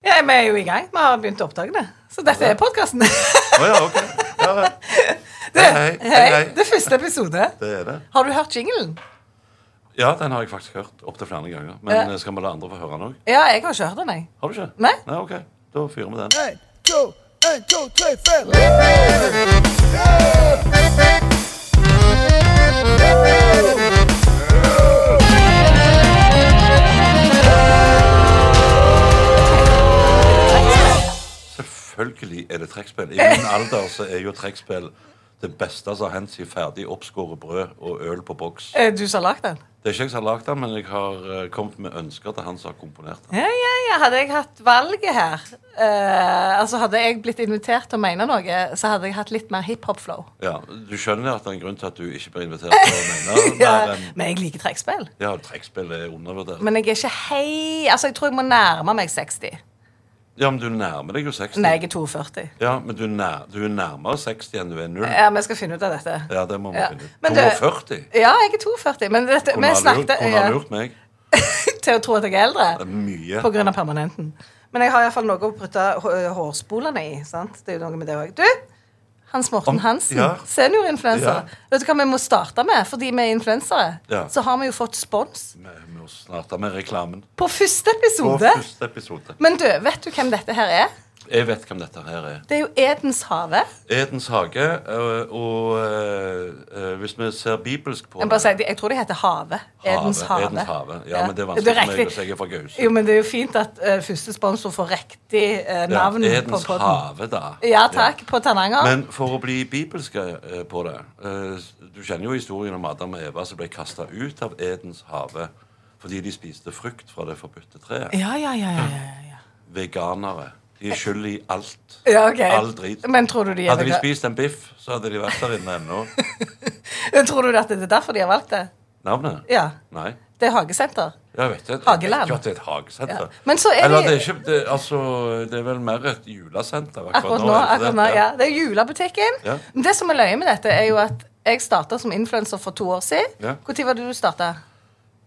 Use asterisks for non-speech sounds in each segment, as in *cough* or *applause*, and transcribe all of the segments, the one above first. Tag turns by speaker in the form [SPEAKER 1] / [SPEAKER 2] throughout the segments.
[SPEAKER 1] Nei, vi er jo i gang. Vi har begynt å oppdage det. Så dette er *laughs* podkasten.
[SPEAKER 2] Å ja, ok. Ja, ja. hei, hei, hei.
[SPEAKER 1] Det er første episode.
[SPEAKER 2] det er det.
[SPEAKER 1] Har du hørt jinglen?
[SPEAKER 2] Ja, den har jeg faktisk hørt opptil flere ganger. Men
[SPEAKER 1] Ja.
[SPEAKER 2] eh, skal vi la andre få høre den òg?
[SPEAKER 1] Ja, jeg har ikke hørt den, jeg.
[SPEAKER 2] Har du ikke?
[SPEAKER 1] Nei.
[SPEAKER 2] ok. Da fyrer vi den.
[SPEAKER 3] En, to, en, to, tre, fem.
[SPEAKER 2] Selvfølgelig er det trekkspill. I min alder så er jo trekkspill det beste som har hendt siden ferdig oppskåret brød og øl på boks.
[SPEAKER 1] Eh, Du som har lagd den?
[SPEAKER 2] Det er ikke jeg som har lagd den, men jeg har eh, kommet med ønsker til han som har komponert den.
[SPEAKER 1] Ja, ja, ja. Hadde jeg hatt valget her eh, Altså Hadde jeg blitt invitert til å mene noe, så hadde jeg hatt litt mer hiphop-flow.
[SPEAKER 2] Ja, Du skjønner at det er en grunn til at du ikke blir invitert til å mene
[SPEAKER 1] *laughs*
[SPEAKER 2] mer enn
[SPEAKER 1] Men jeg liker trekkspill.
[SPEAKER 2] Ja, trekkspill er undervurdert.
[SPEAKER 1] Men jeg er ikke hei Altså, jeg tror jeg må nærme meg 60.
[SPEAKER 2] Ja, men du nærmer deg jo 60.
[SPEAKER 1] Nei, jeg er 42.
[SPEAKER 2] Ja, men du, nær, du er nærmere 60 enn du er 0.
[SPEAKER 1] Ja, vi skal finne ut av dette.
[SPEAKER 2] Ja, det må vi
[SPEAKER 1] Ja.
[SPEAKER 2] finne ut.
[SPEAKER 1] Men du-
[SPEAKER 2] 42?
[SPEAKER 1] Ja, jeg er 42, men dette,
[SPEAKER 2] Hun
[SPEAKER 1] vi
[SPEAKER 2] har lurt,
[SPEAKER 1] snakket
[SPEAKER 2] hun
[SPEAKER 1] ja,
[SPEAKER 2] har lurt meg.
[SPEAKER 1] *laughs* til å tro at jeg er eldre.
[SPEAKER 2] Det er mye.
[SPEAKER 1] På grunn av permanenten. Men jeg har iallfall noe å prutte hå- hårspolene i. sant? Det er jo noe med det også. Du, Hans Morten
[SPEAKER 2] Om-
[SPEAKER 1] Hansen,
[SPEAKER 2] ja.
[SPEAKER 1] seniorinfluenser.
[SPEAKER 2] Ja.
[SPEAKER 1] Vet du hva vi må starte med? Fordi vi er influensere,
[SPEAKER 2] Ja.
[SPEAKER 1] så har vi jo fått spons
[SPEAKER 2] Vi vi må starte med reklamen.
[SPEAKER 1] på første
[SPEAKER 2] På
[SPEAKER 1] episode.
[SPEAKER 2] første episode.
[SPEAKER 1] Men du, vet du hvem dette her er?
[SPEAKER 2] Jeg vet hvem dette her er.
[SPEAKER 1] Det er jo Edens hage.
[SPEAKER 2] Edens hage. øh, Og øh, øh, hvis vi ser bibelsk på
[SPEAKER 1] Jeg, bare sier, jeg tror det heter Havet. Edens
[SPEAKER 2] Havet,
[SPEAKER 1] hage.
[SPEAKER 2] Edens have. Ja, men det er vanskelig for meg å si jeg er fra Gausa.
[SPEAKER 1] Jo, men det er jo fint at eh, første sponsor får riktig eh, navn
[SPEAKER 2] ja,
[SPEAKER 1] på
[SPEAKER 2] Edens
[SPEAKER 1] podden.
[SPEAKER 2] hage, da.
[SPEAKER 1] Ja, takk. På Tananger.
[SPEAKER 2] Men for å bli bibelske eh, på det eh, Du kjenner jo historien om Adam og Eva som ble kasta ut av Edens hage fordi de spiste frukt fra det forbudte treet.
[SPEAKER 1] ja, ja, ja, ja, ja, ja.
[SPEAKER 2] Veganere. De er skyld i alt.
[SPEAKER 1] Ja, ok.
[SPEAKER 2] All drit.
[SPEAKER 1] Men tror du de er
[SPEAKER 2] Hadde de
[SPEAKER 1] vegan-
[SPEAKER 2] spist en biff, så hadde de vært der inne ennå.
[SPEAKER 1] Tror du at det er derfor de har valgt det?
[SPEAKER 2] Navnet?
[SPEAKER 1] Ja.
[SPEAKER 2] Nei.
[SPEAKER 1] Det er hagesenter.
[SPEAKER 2] Jeg vet ikke.
[SPEAKER 1] Hageland.
[SPEAKER 2] Jeg vet ikke at det er et hagesenter.
[SPEAKER 1] Ja. Men så er
[SPEAKER 2] Eller
[SPEAKER 1] det-
[SPEAKER 2] det er ikke det, Altså, det er vel mer et julesenter
[SPEAKER 1] Akkurat nå.
[SPEAKER 2] er det
[SPEAKER 1] akkurat nå,
[SPEAKER 2] det?
[SPEAKER 1] ja. Det er julebutikken.
[SPEAKER 2] Ja.
[SPEAKER 1] Men det som er løye med dette, er jo at jeg starta som influenser for to år siden.
[SPEAKER 2] Ja.
[SPEAKER 1] Når var det du starta?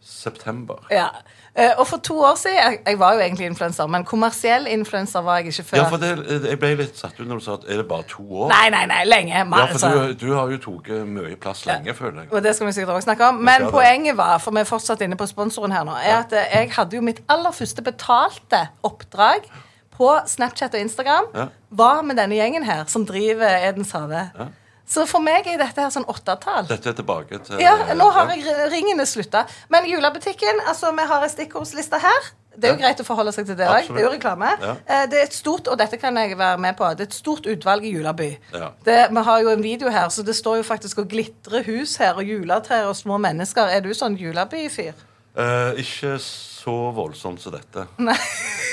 [SPEAKER 2] September.
[SPEAKER 1] Ja. Eh, Og for to år siden jeg, jeg var jo egentlig influenser, men kommersiell influenser var jeg ikke før.
[SPEAKER 2] Ja, for det, eh, jeg ble litt satt ut når du sa at er det bare to år?
[SPEAKER 1] Nei, nei, nei. Lenge. Altså,
[SPEAKER 2] Ja,
[SPEAKER 1] Mer,
[SPEAKER 2] for du, du har jo tatt mye plass lenge, føler jeg.
[SPEAKER 1] Og det skal vi sikkert også snakke om. Men
[SPEAKER 2] skal det.
[SPEAKER 1] poenget var, for vi er fortsatt inne på sponsoren her nå, er at eh, jeg hadde jo mitt aller første betalte oppdrag på Snapchat og Instagram
[SPEAKER 2] Ja.
[SPEAKER 1] var med denne gjengen her som driver Edens hage. Så for meg er dette her sånn åttetall.
[SPEAKER 2] Dette er tilbake til
[SPEAKER 1] Ja, nå har jeg ri- ringene slutta. Men julebutikken, altså vi har ei stikkordsliste her. Det er jo greit å forholde seg til det òg. Det er jo
[SPEAKER 2] Absolutt.
[SPEAKER 1] reklame.
[SPEAKER 2] Ja.
[SPEAKER 1] Eh, Det er et stort og dette kan jeg være med på, det er et stort utvalg i Julaby.
[SPEAKER 2] Ja.
[SPEAKER 1] Det, vi har jo en video her, så det står jo faktisk og glitrer hus her, og juletrær og små mennesker. Er du sånn Julaby-fyr?
[SPEAKER 2] Eh, ikke så voldsomt som dette.
[SPEAKER 1] Nei.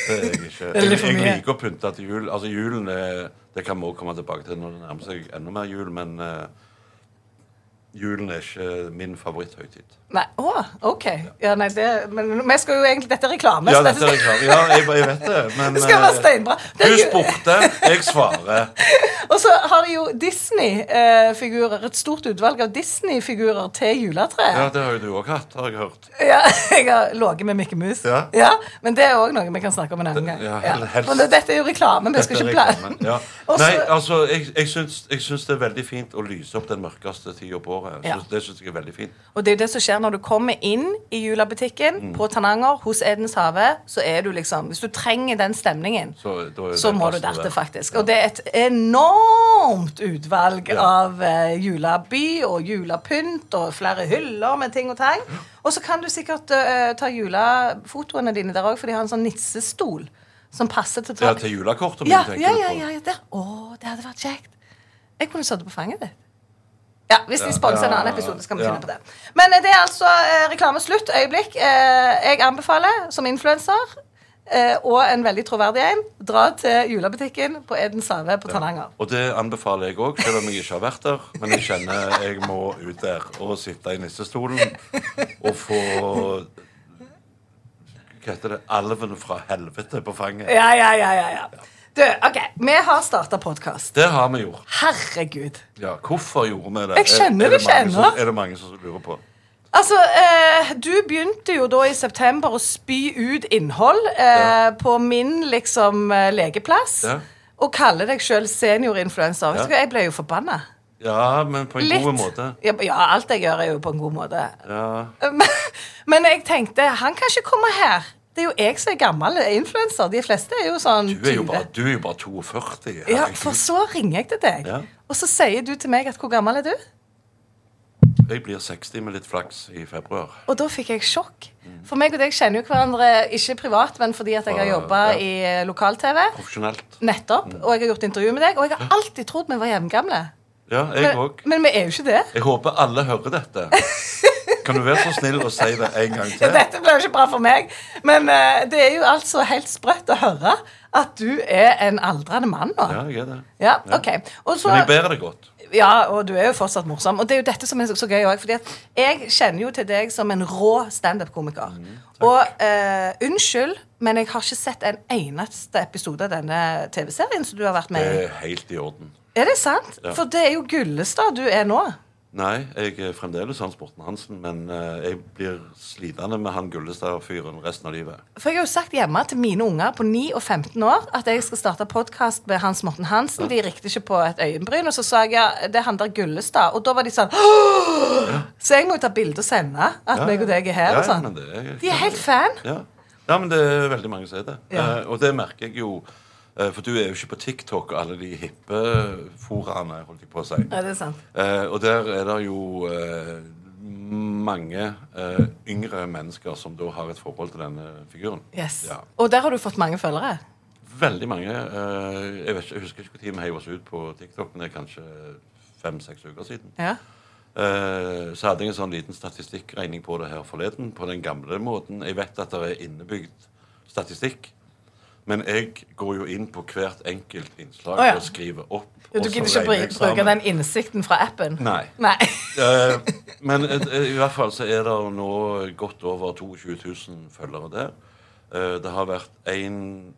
[SPEAKER 2] Det er jeg ikke.
[SPEAKER 1] er
[SPEAKER 2] Jeg,
[SPEAKER 1] litt for
[SPEAKER 2] jeg
[SPEAKER 1] mye.
[SPEAKER 2] liker å pynte til jul. Altså, julen er, Det kan vi også komme tilbake til når det nærmer seg enda mer jul, men eh, julen er ikke min favoritthøytid.
[SPEAKER 1] Nei. Å, OK. Ja, nei, det Men vi skal jo egentlig Dette er reklame.
[SPEAKER 2] Ja,
[SPEAKER 1] så
[SPEAKER 2] dette er jeg klar. Ja, jeg, jeg vet det, men
[SPEAKER 1] Det *laughs* skal være
[SPEAKER 2] eh,
[SPEAKER 1] steinbra. Det er
[SPEAKER 2] Du
[SPEAKER 1] ju-
[SPEAKER 2] spurte, jeg svarer.
[SPEAKER 1] Og så har de jo Disney-figurer. Et stort utvalg av Disney-figurer til juletreet.
[SPEAKER 2] Ja, det har jo du òg hatt, har jeg hørt.
[SPEAKER 1] Ja, *laughs* jeg har ligget med Mikke Mus.
[SPEAKER 2] Ja.
[SPEAKER 1] men det er òg noe vi kan snakke om en annen gang.
[SPEAKER 2] Ja,
[SPEAKER 1] Ja.
[SPEAKER 2] *laughs* helst.
[SPEAKER 1] Men det- dette er jo reklame. Vi skal ikke
[SPEAKER 2] Dette er
[SPEAKER 1] plage *laughs*
[SPEAKER 2] reklame. Ja.
[SPEAKER 1] Og så-
[SPEAKER 2] Nei, altså, jeg, jeg, syns, jeg syns det er veldig fint å lyse opp den mørkeste tida på året.
[SPEAKER 1] Ja.
[SPEAKER 2] Syns- Det syns jeg er veldig fint.
[SPEAKER 1] Og det er jo det som skjer når du kommer inn i julebutikken
[SPEAKER 2] Mm.
[SPEAKER 1] på Tananger hos Edens Have. Så er du liksom Hvis du trenger den stemningen,
[SPEAKER 2] Så, da er
[SPEAKER 1] så
[SPEAKER 2] det
[SPEAKER 1] må du
[SPEAKER 2] passende
[SPEAKER 1] dertil,
[SPEAKER 2] der.
[SPEAKER 1] faktisk. Og det er et enormt utvalg
[SPEAKER 2] Ja.
[SPEAKER 1] av eh, juleby og julepynt og flere hyller med ting og tang. Og så kan du sikkert eh, ta julefotoene dine der òg, for de har en sånn nissestol som passer til
[SPEAKER 2] Ja, til julekortet mitt,
[SPEAKER 1] Ja,
[SPEAKER 2] tenker
[SPEAKER 1] ja,
[SPEAKER 2] du
[SPEAKER 1] ja,
[SPEAKER 2] på.
[SPEAKER 1] ja, ja, der. Å, det hadde vært kjekt. Jeg kunne sittet på fanget ditt. Ja, Hvis de
[SPEAKER 2] Ja.
[SPEAKER 1] sponser en
[SPEAKER 2] Ja,
[SPEAKER 1] annen episode, skal vi
[SPEAKER 2] ja.
[SPEAKER 1] finne på det. Men eh, det er altså eh, reklameslutt. Øyeblikk. Eh, jeg anbefaler, som influenser, eh, og en veldig troverdig en, dra til julebutikken på Eden Save på Tananger.
[SPEAKER 2] Og det anbefaler jeg òg, selv om jeg ikke har vært der. Men jeg kjenner jeg må ut der og sitte i nissestolen og få Hva heter det? Alven fra helvete på fanget.
[SPEAKER 1] Ja, ja, ja, ja, ja. Du, OK. Vi har starta podkast.
[SPEAKER 2] Det har vi gjort.
[SPEAKER 1] Herregud.
[SPEAKER 2] Ja, Hvorfor gjorde vi det?
[SPEAKER 1] Jeg skjønner
[SPEAKER 2] Er- er
[SPEAKER 1] det ikke
[SPEAKER 2] mange som-
[SPEAKER 1] ennå.
[SPEAKER 2] Er det mange som lurer på?
[SPEAKER 1] Altså, eh, Du begynte jo da i september å spy ut innhold eh,
[SPEAKER 2] Ja.
[SPEAKER 1] på min liksom eh, legeplass.
[SPEAKER 2] Ja.
[SPEAKER 1] Og kalle deg sjøl seniorinfluenser. Vet du
[SPEAKER 2] Ja.
[SPEAKER 1] hva, Jeg ble jo forbanna.
[SPEAKER 2] Ja, men på en god måte.
[SPEAKER 1] Ja, ja, alt jeg gjør, er jo på en god måte. *laughs*
[SPEAKER 2] Ja.
[SPEAKER 1] Men, men jeg tenkte han kan ikke komme her. Det er jo jeg som er gammel influenser. De fleste er jo sånn
[SPEAKER 2] Du er jo
[SPEAKER 1] 20.
[SPEAKER 2] bare, du er jo bare 42.
[SPEAKER 1] Ja,
[SPEAKER 2] herregud.
[SPEAKER 1] For så ringer jeg til deg,
[SPEAKER 2] Ja.
[SPEAKER 1] og så sier du til meg at hvor gammel er du?
[SPEAKER 2] Jeg blir 60 med litt flaks i februar.
[SPEAKER 1] Og da fikk jeg sjokk. For meg og deg kjenner jo hverandre ikke privat, men fordi at jeg har
[SPEAKER 2] Fra-
[SPEAKER 1] jobba
[SPEAKER 2] ja. Mm.
[SPEAKER 1] i lokal-TV.
[SPEAKER 2] Profesjonelt.
[SPEAKER 1] Nettopp. Og jeg har gjort intervju med deg, og jeg har alltid trodd vi var jevngamle.
[SPEAKER 2] Ja, jeg
[SPEAKER 1] Men,
[SPEAKER 2] òg.
[SPEAKER 1] men vi er jo ikke det.
[SPEAKER 2] Jeg håper alle
[SPEAKER 1] *laughs*
[SPEAKER 2] hører dette. Kan du være så snill å si det en gang
[SPEAKER 1] Ja,
[SPEAKER 2] til?
[SPEAKER 1] dette ble jo ikke bra for meg. Men eh, det er jo altså helt sprøtt å høre at du er en aldrende mann nå.
[SPEAKER 2] Ja, jeg er det.
[SPEAKER 1] Ja, ok. Og så,
[SPEAKER 2] Men jeg bærer det godt.
[SPEAKER 1] ja, og du er jo fortsatt morsom. Og det er jo dette som er så, så gøy òg. Jeg kjenner jo til deg som en rå standup-komiker.
[SPEAKER 2] Mm,
[SPEAKER 1] og eh, unnskyld, men jeg har ikke sett en eneste episode av denne TV-serien som du har vært
[SPEAKER 2] Det
[SPEAKER 1] med i.
[SPEAKER 2] er helt i orden.
[SPEAKER 1] Er det sant?
[SPEAKER 2] Ja.
[SPEAKER 1] For det er jo Gullestad du er nå.
[SPEAKER 2] Nei, jeg er fremdeles Hans Morten Hansen, men eh, jeg blir slitende med han Gullestad-fyren resten av livet.
[SPEAKER 1] For jeg har jo sagt hjemme til mine unger på 9 og 15 år at jeg skal starte podkast med Hans Morten Hansen. De rikte ikke på et øyenbryn. Og så sa jeg ja, det er han der Gullestad. Og da var de sånn «Åh!» Så jeg må jo ta bilde og sende at
[SPEAKER 2] Ja,
[SPEAKER 1] meg og deg er her.
[SPEAKER 2] ja,
[SPEAKER 1] og sånn.
[SPEAKER 2] men det er-
[SPEAKER 1] De er helt fan.
[SPEAKER 2] Ja. ja, men det er veldig mange som er det.
[SPEAKER 1] Ja.
[SPEAKER 2] Eh, og det merker jeg jo, eh, for du er jo ikke på TikTok og alle de hippe foraene, holdt jeg på å si.
[SPEAKER 1] Ja, det er sant.
[SPEAKER 2] Eh, og der er det jo eh, mange eh, yngre mennesker som da har et forhold til denne figuren.
[SPEAKER 1] Yes.
[SPEAKER 2] Ja.
[SPEAKER 1] Og der har du fått mange følgere.
[SPEAKER 2] Veldig mange. eh, jeg, vet ikke, jeg husker ikke når vi heiv oss ut på TikTok, men det er kanskje fem-seks uker siden.
[SPEAKER 1] Ja.
[SPEAKER 2] Eh, så hadde jeg en sånn liten statistikkregning på det her forleden. På den gamle måten. Jeg vet at det er innebygd statistikk. Men jeg går jo inn på hvert enkelt innslag
[SPEAKER 1] Å, ja.
[SPEAKER 2] og skriver opp.
[SPEAKER 1] Du
[SPEAKER 2] og så
[SPEAKER 1] gidder ikke
[SPEAKER 2] regner jeg
[SPEAKER 1] bruke, bruke
[SPEAKER 2] sammen.
[SPEAKER 1] den innsikten fra appen?
[SPEAKER 2] Nei.
[SPEAKER 1] Nei.
[SPEAKER 2] *laughs* Eh, men eh, i hvert fall så er det nå godt over 22 000 følgere der. Eh, det har vært 1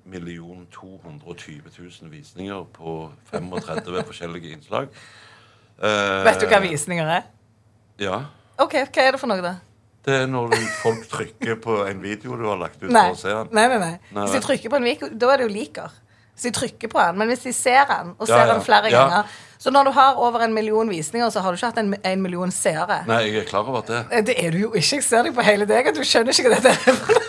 [SPEAKER 2] 220 000 visninger på 35 forskjellige innslag. Eh,
[SPEAKER 1] Vet du hva visninger er?
[SPEAKER 2] Ja.
[SPEAKER 1] OK, hva er det for noe, da?
[SPEAKER 2] Det er når du- folk trykker på en video du har lagt ut
[SPEAKER 1] Nei.
[SPEAKER 2] for å se den.
[SPEAKER 1] Nei, nei, nei.
[SPEAKER 2] Nei,
[SPEAKER 1] Hvis
[SPEAKER 2] nei.
[SPEAKER 1] de trykker på en video, da er det jo liker. Hvis de trykker på den, Men hvis de ser den, og
[SPEAKER 2] Ja,
[SPEAKER 1] ser
[SPEAKER 2] ja.
[SPEAKER 1] den flere
[SPEAKER 2] Ja.
[SPEAKER 1] ganger Så når du har over en million visninger, så har du ikke hatt en, en million seere.
[SPEAKER 2] Nei, jeg er klar over at det.
[SPEAKER 1] Eh, Det er du jo ikke. Jeg ser deg på hele deg, og du skjønner ikke hva dette er for noe.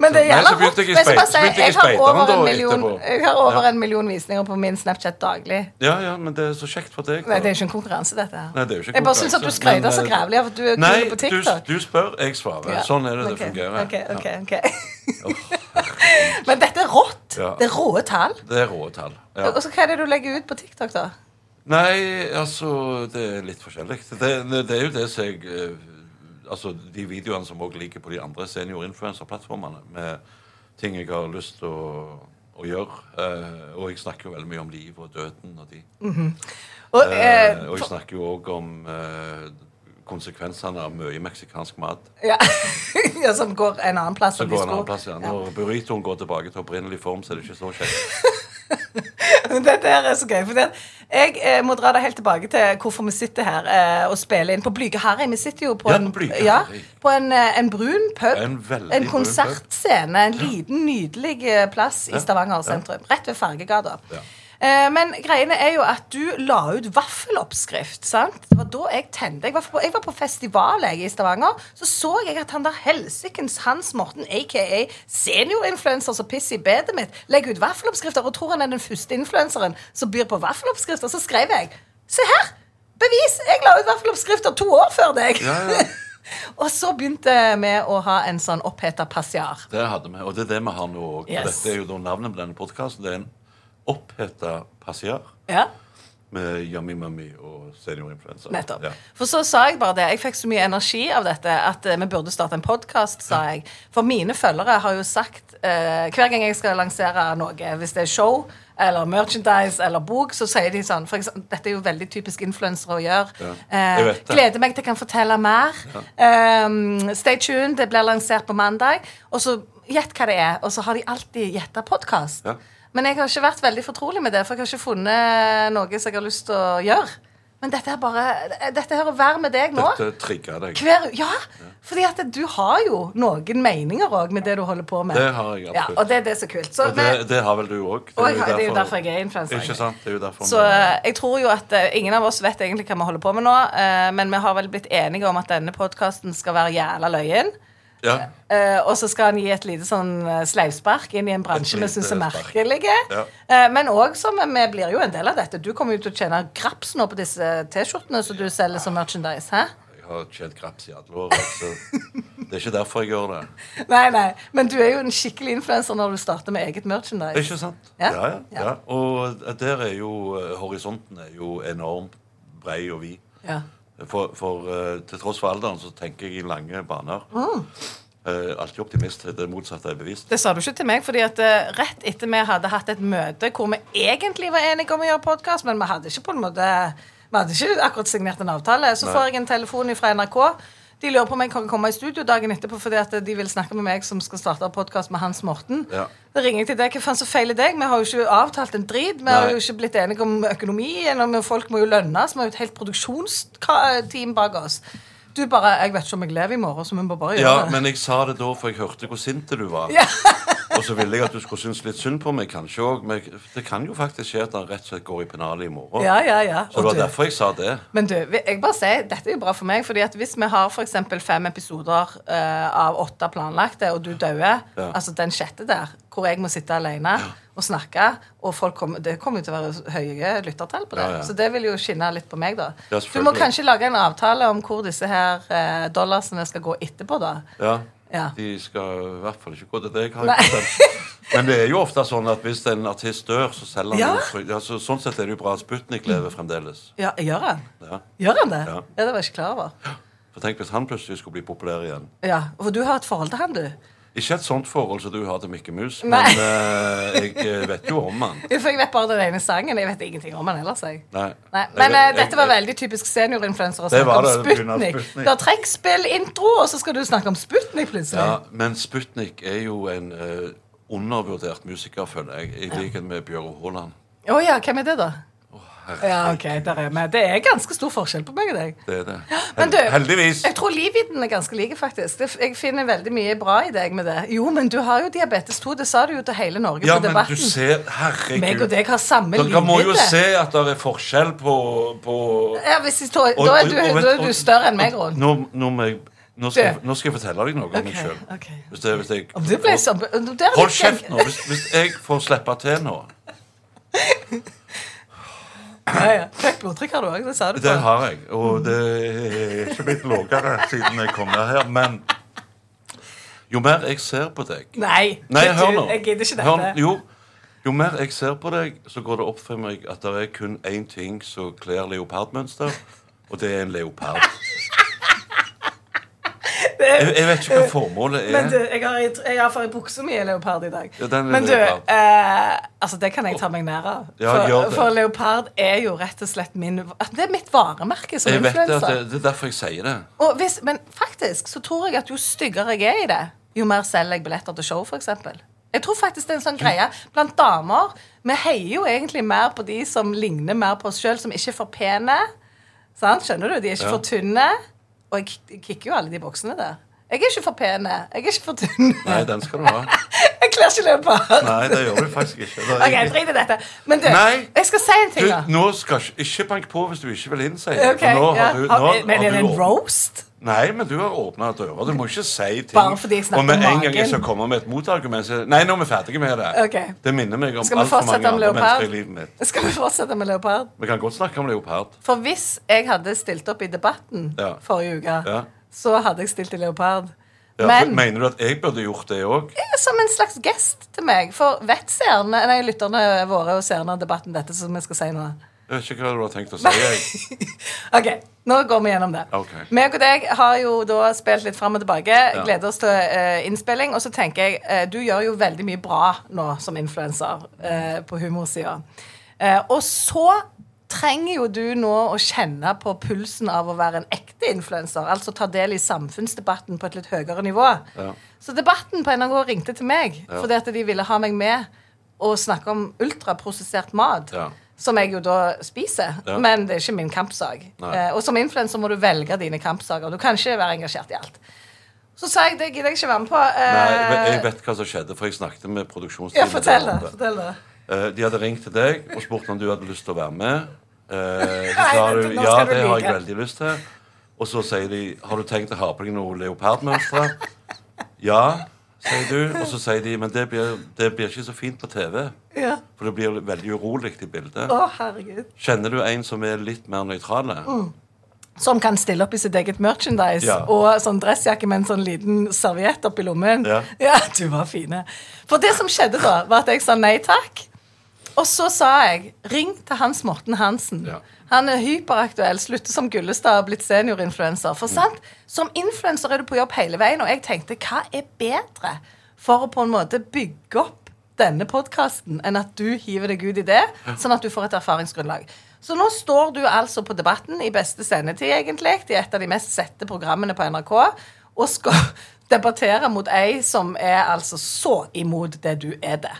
[SPEAKER 1] Men det
[SPEAKER 2] Nei,
[SPEAKER 1] gjelder
[SPEAKER 2] så begynte jeg i
[SPEAKER 1] Men jeg skal bare
[SPEAKER 2] speid-
[SPEAKER 1] si,
[SPEAKER 2] så begynte jeg i
[SPEAKER 1] jeg har
[SPEAKER 2] speideren
[SPEAKER 1] over
[SPEAKER 2] da
[SPEAKER 1] en million,
[SPEAKER 2] etterpå.
[SPEAKER 1] jeg har over
[SPEAKER 2] Ja.
[SPEAKER 1] en million visninger på min Snapchat daglig.
[SPEAKER 2] Ja, ja, men det er så kjekt for deg.
[SPEAKER 1] Nei, det er jo ikke en konkurranse, dette her.
[SPEAKER 2] Nei, det er jo ikke
[SPEAKER 1] jeg bare
[SPEAKER 2] konkurranse,
[SPEAKER 1] syns at du skrøyter
[SPEAKER 2] men,
[SPEAKER 1] så
[SPEAKER 2] eh,
[SPEAKER 1] grævlig av at du er
[SPEAKER 2] Nei,
[SPEAKER 1] kul på
[SPEAKER 2] du,
[SPEAKER 1] TikTok.
[SPEAKER 2] du spør, jeg svarer.
[SPEAKER 1] Ja.
[SPEAKER 2] Sånn er det
[SPEAKER 1] Ok,
[SPEAKER 2] det fungerer.
[SPEAKER 1] ok, ok,
[SPEAKER 2] Ja.
[SPEAKER 1] ok. *laughs* Men dette er rått.
[SPEAKER 2] Ja.
[SPEAKER 1] Det er råe tall.
[SPEAKER 2] Det er rå tall. Ja. Eh,
[SPEAKER 1] Og så hva er det du legger ut på TikTok, da?
[SPEAKER 2] Nei, altså Det er litt forskjellig. Det, det, det er jo det som jeg eh, Altså de videoene som òg ligger på de andre seniorinfluenserplattformene, med ting jeg har lyst til å, å gjøre. Eh, og jeg snakker jo veldig mye om liv og døden og de.
[SPEAKER 1] Og,
[SPEAKER 2] Eh,
[SPEAKER 1] eh,
[SPEAKER 2] og jeg snakker jo òg om eh, konsekvensene av mye meksikansk mat.
[SPEAKER 1] ja. *laughs* ja, som går en annen plass.
[SPEAKER 2] Så
[SPEAKER 1] enn de
[SPEAKER 2] går en
[SPEAKER 1] skulle.
[SPEAKER 2] annen plass ja. Når burritoen går tilbake til opprinnelig form, så er det ikke så kjekt.
[SPEAKER 1] Men Dette her er så gøy. For det, jeg eh, må dra det helt tilbake til hvorfor vi sitter her eh, og spiller inn på Blyge Harry. Vi sitter jo på
[SPEAKER 2] Ja,
[SPEAKER 1] en,
[SPEAKER 2] Blyge
[SPEAKER 1] ja,
[SPEAKER 2] Harry.
[SPEAKER 1] på en, eh, en brun pub.
[SPEAKER 2] En veldig brun
[SPEAKER 1] konsertscene. En liten, nydelig eh, plass
[SPEAKER 2] Ja,
[SPEAKER 1] i Stavanger
[SPEAKER 2] ja.
[SPEAKER 1] sentrum. Rett ved Fargegata.
[SPEAKER 2] Ja.
[SPEAKER 1] Eh, Men greiene er jo at du la ut vaffeloppskrift. sant? Det var da jeg tente. Jeg var på, jeg var på festival jeg, i Stavanger. Så så jeg at han der helsikens Hans Morten, aka seniorinfluenser som pisser i bedet mitt, legger ut vaffeloppskrifter og tror han er den første influenseren som byr på vaffeloppskrifter. Så skrev jeg Se her! Bevis! Jeg la ut vaffeloppskrifter to år før deg.
[SPEAKER 2] Ja, ja.
[SPEAKER 1] *laughs* og så begynte vi å ha en sånn oppheta passiar.
[SPEAKER 2] Det hadde vi, og det er det vi har nå òg.
[SPEAKER 1] Yes.
[SPEAKER 2] Dette er jo da navnet på denne podkasten. Det er en oppheta passiar
[SPEAKER 1] Ja.
[SPEAKER 2] med Yummy Mummy og seniorinfluensa.
[SPEAKER 1] Nettopp.
[SPEAKER 2] Ja.
[SPEAKER 1] For så sa jeg bare det. Jeg fikk så mye energi av dette at eh, vi burde starte en podkast, sa jeg. For mine følgere har jo sagt eh, Hver gang jeg skal lansere noe, hvis det er show eller merchandise eller bok, så sier de sånn for eksempel, Dette er jo veldig typisk influensere å gjøre.
[SPEAKER 2] Ja.
[SPEAKER 1] Eh,
[SPEAKER 2] Jeg vet det.
[SPEAKER 1] gleder meg til jeg kan fortelle mer. Eh, stay tuned. Det blir lansert på mandag. Og så gjett hva det er. Og så har de alltid gjetta podkast.
[SPEAKER 2] Ja.
[SPEAKER 1] Men jeg har ikke vært veldig fortrolig med det, for jeg har ikke funnet noe som jeg har lyst til å gjøre. Men Men dette her bare Dette her å være med deg nå
[SPEAKER 2] Dette trigger deg.
[SPEAKER 1] hver, Ja, fordi at du har jo noen meninger òg med det du holder på med.
[SPEAKER 2] Det har jeg
[SPEAKER 1] ja,
[SPEAKER 2] absolutt.
[SPEAKER 1] og det er det som er så kult. Så,
[SPEAKER 2] Og det,
[SPEAKER 1] vi-
[SPEAKER 2] det har vel du òg.
[SPEAKER 1] og jeg har- det er jo derfor jeg er influenser.
[SPEAKER 2] Ikke sånn. sant? Det er jo derfor
[SPEAKER 1] Så eh, jeg tror jo at eh, ingen av oss vet egentlig hva vi holder på med nå, eh, men vi har vel blitt enige om at denne podkasten skal være jævla løyen.
[SPEAKER 2] ja.
[SPEAKER 1] eh, og så skal han gi et lite sånn eh, sleivspark inn i en bransje vi
[SPEAKER 2] Et lite
[SPEAKER 1] syns er
[SPEAKER 2] spark.
[SPEAKER 1] merkelig.
[SPEAKER 2] Ja.
[SPEAKER 1] Eh, men òg som vi blir jo en del av dette. Du kommer jo til å tjene graps nå på disse T-skjortene som du selger som merchandise. Hæ?
[SPEAKER 2] Jeg har tjent graps i alle år. Så det er ikke derfor jeg gjør det.
[SPEAKER 1] Nei, nei. Men du er jo en skikkelig influenser når du starter med eget merchandise.
[SPEAKER 2] Ikke sant?
[SPEAKER 1] Ja.
[SPEAKER 2] Ja, ja, ja. Og der er jo eh, Horisonten er jo enormt brei og vid.
[SPEAKER 1] Ja.
[SPEAKER 2] For, for eh, til tross for alderen så tenker jeg i lange baner.
[SPEAKER 1] Mm.
[SPEAKER 2] Eh, alltid optimist. Det motsatte er bevist.
[SPEAKER 1] Det sa du ikke til meg, fordi at eh, rett etter vi hadde hatt et møte hvor vi egentlig var enige om å gjøre podkast, men vi hadde ikke på en måte Vi hadde ikke akkurat signert en avtale. Så
[SPEAKER 2] Nei.
[SPEAKER 1] får jeg en telefon fra NRK. De lurer på om jeg kan komme i studio dagen etterpå fordi at de vil snakke med meg som skal starte podkast med Hans Morten.
[SPEAKER 2] Ja.
[SPEAKER 1] Da ringer jeg til deg. Hva faen som feiler deg? Vi har jo ikke avtalt en drit. Vi har
[SPEAKER 2] Nei.
[SPEAKER 1] jo ikke blitt enige om økonomien, og folk må jo lønnes. Vi har jo et helt produksjonsteam bak oss. Du bare Jeg vet ikke om jeg lever i morgen, så vi må bare gjøre
[SPEAKER 2] Ja,
[SPEAKER 1] det.
[SPEAKER 2] men jeg sa det da, for jeg hørte hvor sint du var.
[SPEAKER 1] Ja.
[SPEAKER 2] og så ville jeg at du skulle synes litt synd på meg, kanskje òg. Men det kan jo faktisk skje at han rett og slett går i pennalet i morgen.
[SPEAKER 1] *laughs* Ja, ja, ja.
[SPEAKER 2] Så det
[SPEAKER 1] Og
[SPEAKER 2] var
[SPEAKER 1] du-
[SPEAKER 2] derfor jeg sa det.
[SPEAKER 1] Men du, vi- jeg bare sier, dette er jo bra for meg, fordi at hvis vi har for eksempel fem episoder eh, av åtte planlagte, og du døde,
[SPEAKER 2] Ja.
[SPEAKER 1] altså den sjette der, hvor jeg må sitte alene og snakke, og folk kommer, det kommer jo til å være høye lyttertall på det,
[SPEAKER 2] Ja, ja.
[SPEAKER 1] så det vil jo skinne litt på meg da. du
[SPEAKER 2] Ja,
[SPEAKER 1] må
[SPEAKER 2] selvfølgelig.
[SPEAKER 1] kanskje lage en avtale om hvor disse her eh, dollarsene skal gå etterpå da.
[SPEAKER 2] Ja.
[SPEAKER 1] Ja.
[SPEAKER 2] De skal i hvert fall ikke gå til deg. Har
[SPEAKER 1] Nei.
[SPEAKER 2] jeg bestemt. Men det er jo ofte sånn at hvis en artist dør, så selger han
[SPEAKER 1] Ja.
[SPEAKER 2] jo fry- ja, så, Sånn sett er det jo bra at Sputnik lever fremdeles.
[SPEAKER 1] Ja, gjør han?
[SPEAKER 2] Ja.
[SPEAKER 1] Gjør han det?
[SPEAKER 2] Ja.
[SPEAKER 1] ja, det var jeg ikke klar over.
[SPEAKER 2] For tenk hvis han plutselig skulle bli populær igjen.
[SPEAKER 1] Ja, for du har et forhold til han, du.
[SPEAKER 2] Ikke et sånt forhold som du har til Mikke Mus, men
[SPEAKER 1] Nei.
[SPEAKER 2] eh, jeg eh, vet jo om han.
[SPEAKER 1] For jeg vet bare den ene sangen. Jeg vet ingenting om han ellers. Jeg.
[SPEAKER 2] Nei.
[SPEAKER 1] Nei. Men
[SPEAKER 2] Jeg-
[SPEAKER 1] eh, dette var
[SPEAKER 2] jeg-
[SPEAKER 1] veldig typisk seniorinfluenser å
[SPEAKER 2] Det
[SPEAKER 1] snakke om
[SPEAKER 2] var det, det begynner
[SPEAKER 1] Sputnik.
[SPEAKER 2] Sputnik.
[SPEAKER 1] Det er trekkspillintro, og så skal du snakke om Sputnik plutselig.
[SPEAKER 2] Ja, men Sputnik er jo en eh, undervurdert musiker, føler jeg, i likhet med Bjøro Haaland.
[SPEAKER 1] Å ja, hvem er det, da?
[SPEAKER 2] Herregud,
[SPEAKER 1] Ja, ok, der er vi. Det er ganske stor forskjell på meg og deg.
[SPEAKER 2] Det er det.
[SPEAKER 1] *gasps* Men du,
[SPEAKER 2] Hel- Heldigvis.
[SPEAKER 1] Jeg tror livvidden er ganske like, faktisk. Det- Jeg finner veldig mye bra i deg med det. Jo, men du har jo diabetes 2. Det sa du jo til hele Norge
[SPEAKER 2] Ja,
[SPEAKER 1] på
[SPEAKER 2] men du
[SPEAKER 1] Debatten.
[SPEAKER 2] ser Herregud.
[SPEAKER 1] Meg og deg har samme
[SPEAKER 2] Dere må jo
[SPEAKER 1] livvidde.
[SPEAKER 2] se at det er forskjell på, på
[SPEAKER 1] Ja, hvis jeg tror, da, er du,
[SPEAKER 2] og- og-
[SPEAKER 1] da er du større enn meg,
[SPEAKER 2] og-
[SPEAKER 1] Ron.
[SPEAKER 2] Nå, nå, må jeg, nå, skal, jeg-
[SPEAKER 1] Du.
[SPEAKER 2] nå skal jeg fortelle deg noe om meg
[SPEAKER 1] Ok,
[SPEAKER 2] sjøl.
[SPEAKER 1] ok.
[SPEAKER 2] Hvis det- hvis jeg-
[SPEAKER 1] Om du ble så... der er
[SPEAKER 2] Hold
[SPEAKER 1] det-
[SPEAKER 2] kjeft nå! Hvis, hvis jeg får slippe til nå
[SPEAKER 1] Ja, ja. Høyt blodtrykk har du òg, det sa du.
[SPEAKER 2] Det
[SPEAKER 1] før.
[SPEAKER 2] har jeg. Og det er ikke blitt lavere siden jeg kom ned her. Men jo mer jeg ser på deg
[SPEAKER 1] Nei,
[SPEAKER 2] Nei,
[SPEAKER 1] vet
[SPEAKER 2] hør
[SPEAKER 1] du,
[SPEAKER 2] nå.
[SPEAKER 1] jeg gidder ikke dette.
[SPEAKER 2] Hør, jo, jo mer jeg ser på deg, så går det opp for meg at det er kun én ting som kler leopardmønster, og det er en leopard. Jeg, jeg vet ikke hva formålet
[SPEAKER 1] Men du,
[SPEAKER 2] er.
[SPEAKER 1] jeg har, i- jeg har for i buksa mi er leopard i dag.
[SPEAKER 2] Ja, den er
[SPEAKER 1] Men du,
[SPEAKER 2] leopard.
[SPEAKER 1] eh, altså det kan jeg ta meg nær av.
[SPEAKER 2] Ja, gjør
[SPEAKER 1] for,
[SPEAKER 2] det.
[SPEAKER 1] for leopard er jo rett og slett min Det er mitt varemerke som
[SPEAKER 2] Jeg vet det, at det,
[SPEAKER 1] influenser.
[SPEAKER 2] det er derfor jeg sier det.
[SPEAKER 1] Og hvis- Men faktisk så tror jeg at jo styggere jeg er i det, jo mer selger jeg billetter til show, f.eks. Jeg tror faktisk det er en sånn greie blant damer. Vi heier jo egentlig mer på de som ligner mer på oss sjøl, som ikke er for pene. Sant? Skjønner du? De er ikke
[SPEAKER 2] Ja.
[SPEAKER 1] for tynne. Og jeg k- kikker jo alle de boksene der. Jeg er ikke for pene. Jeg er ikke for tynn.
[SPEAKER 2] Nei, den skal du ha.
[SPEAKER 1] *laughs* Jeg kler ikke leopard.
[SPEAKER 2] Nei, det gjør du faktisk ikke. Det
[SPEAKER 1] OK,
[SPEAKER 2] er ikke-
[SPEAKER 1] drit i dette. Men du,
[SPEAKER 2] Nei.
[SPEAKER 1] jeg skal si en ting, da.
[SPEAKER 2] Du, nå skal ikke, ikke bank på hvis du ikke vil inn, sier jeg.
[SPEAKER 1] Ok,
[SPEAKER 2] For nå
[SPEAKER 1] ja.
[SPEAKER 2] har du, nå
[SPEAKER 1] Har- Men
[SPEAKER 2] har
[SPEAKER 1] er det
[SPEAKER 2] du
[SPEAKER 1] en
[SPEAKER 2] åpnet-
[SPEAKER 1] roast?
[SPEAKER 2] Nei, men du har åpna døra. Du må ikke si ting.
[SPEAKER 1] Bare fordi jeg snakker
[SPEAKER 2] og med
[SPEAKER 1] om
[SPEAKER 2] en gang
[SPEAKER 1] magen.
[SPEAKER 2] jeg skal komme med et motargument, så Nei, nå er vi ferdige med det.
[SPEAKER 1] Ok.
[SPEAKER 2] Det minner meg om
[SPEAKER 1] Skal vi
[SPEAKER 2] altfor mange
[SPEAKER 1] fortsette om
[SPEAKER 2] andre
[SPEAKER 1] leopard?
[SPEAKER 2] mennesker i livet mitt.
[SPEAKER 1] Skal vi fortsette med leopard?
[SPEAKER 2] Vi kan godt snakke om leopard.
[SPEAKER 1] For hvis jeg hadde stilt opp i debatten
[SPEAKER 2] Ja.
[SPEAKER 1] forrige uke,
[SPEAKER 2] Ja.
[SPEAKER 1] så hadde jeg stilt i leopard.
[SPEAKER 2] Ja, for
[SPEAKER 1] Men
[SPEAKER 2] Mener du at jeg burde gjort det òg?
[SPEAKER 1] som en slags gest til meg, for vet seerne, nei, lytterne våre og seerne av debatten dette som vi skal si nå?
[SPEAKER 2] Jeg vet ikke hva du har tenkt å si.
[SPEAKER 1] *laughs*
[SPEAKER 2] Jeg.
[SPEAKER 1] OK, nå går vi gjennom det.
[SPEAKER 2] Ok.
[SPEAKER 1] Meg og deg har jo da spilt litt fram og tilbake.
[SPEAKER 2] Ja.
[SPEAKER 1] Gleder oss til eh, innspilling. Og så tenker jeg, eh, du gjør jo veldig mye bra nå som influenser eh, på humorsida. Eh, og så trenger jo du nå å kjenne på pulsen av å være en ekte influenser. Altså ta del i samfunnsdebatten på et litt høyere nivå.
[SPEAKER 2] Ja.
[SPEAKER 1] Så debatten på NRK ringte til meg
[SPEAKER 2] Ja.
[SPEAKER 1] fordi at de ville ha meg med og snakke om ultraprosessert mat.
[SPEAKER 2] Ja.
[SPEAKER 1] Som jeg jo da spiser,
[SPEAKER 2] Ja.
[SPEAKER 1] men det er ikke min kampsak.
[SPEAKER 2] Nei.
[SPEAKER 1] Eh, og som influenser må du velge dine kampsaker. Du kan ikke være engasjert i alt. Så sa jeg det gidder jeg ikke være med på.
[SPEAKER 2] Nei,
[SPEAKER 1] Eh,
[SPEAKER 2] jeg- jeg vet hva som skjedde, for jeg snakket med produksjonsteamet.
[SPEAKER 1] ja, fortell det.
[SPEAKER 2] om det.
[SPEAKER 1] Fortell det.
[SPEAKER 2] Eh, De hadde ringt til deg og spurt om du hadde lyst til å være med. Eh, Så
[SPEAKER 1] Nei,
[SPEAKER 2] sa
[SPEAKER 1] men
[SPEAKER 2] du
[SPEAKER 1] nå skal
[SPEAKER 2] ja,
[SPEAKER 1] du
[SPEAKER 2] det har
[SPEAKER 1] like.
[SPEAKER 2] jeg veldig lyst til. Og så sier de har du tenkt å ha på deg noe leopardmønstre. Ja, sier du. Og så sier de men det blir, det blir ikke så fint på TV.
[SPEAKER 1] Ja.
[SPEAKER 2] For det blir veldig urolig i bildet.
[SPEAKER 1] Å, herregud.
[SPEAKER 2] Kjenner du en som er litt mer nøytrale?
[SPEAKER 1] Mm. Som kan stille opp i sitt eget merchandise
[SPEAKER 2] Ja.
[SPEAKER 1] og sånn dressjakke med en sånn liten serviett oppi lommen.
[SPEAKER 2] Ja.
[SPEAKER 1] du var fine. For det som skjedde da, var at jeg sa nei takk. Og så sa jeg ring til Hans Morten Hansen.
[SPEAKER 2] Ja.
[SPEAKER 1] Han er hyperaktuell, slutter som Gullestad, har blitt seniorinfluenser. For sant, Som influenser er du på jobb hele veien, og jeg tenkte hva er bedre for å på en måte bygge opp denne podkasten enn at du hiver deg ut i det, sånn at du får et erfaringsgrunnlag. Så nå står du altså på Debatten i beste sendetid, egentlig, i et av de mest sette programmene på NRK, og skal *laughs* debattere mot ei som er altså så imot det du er det.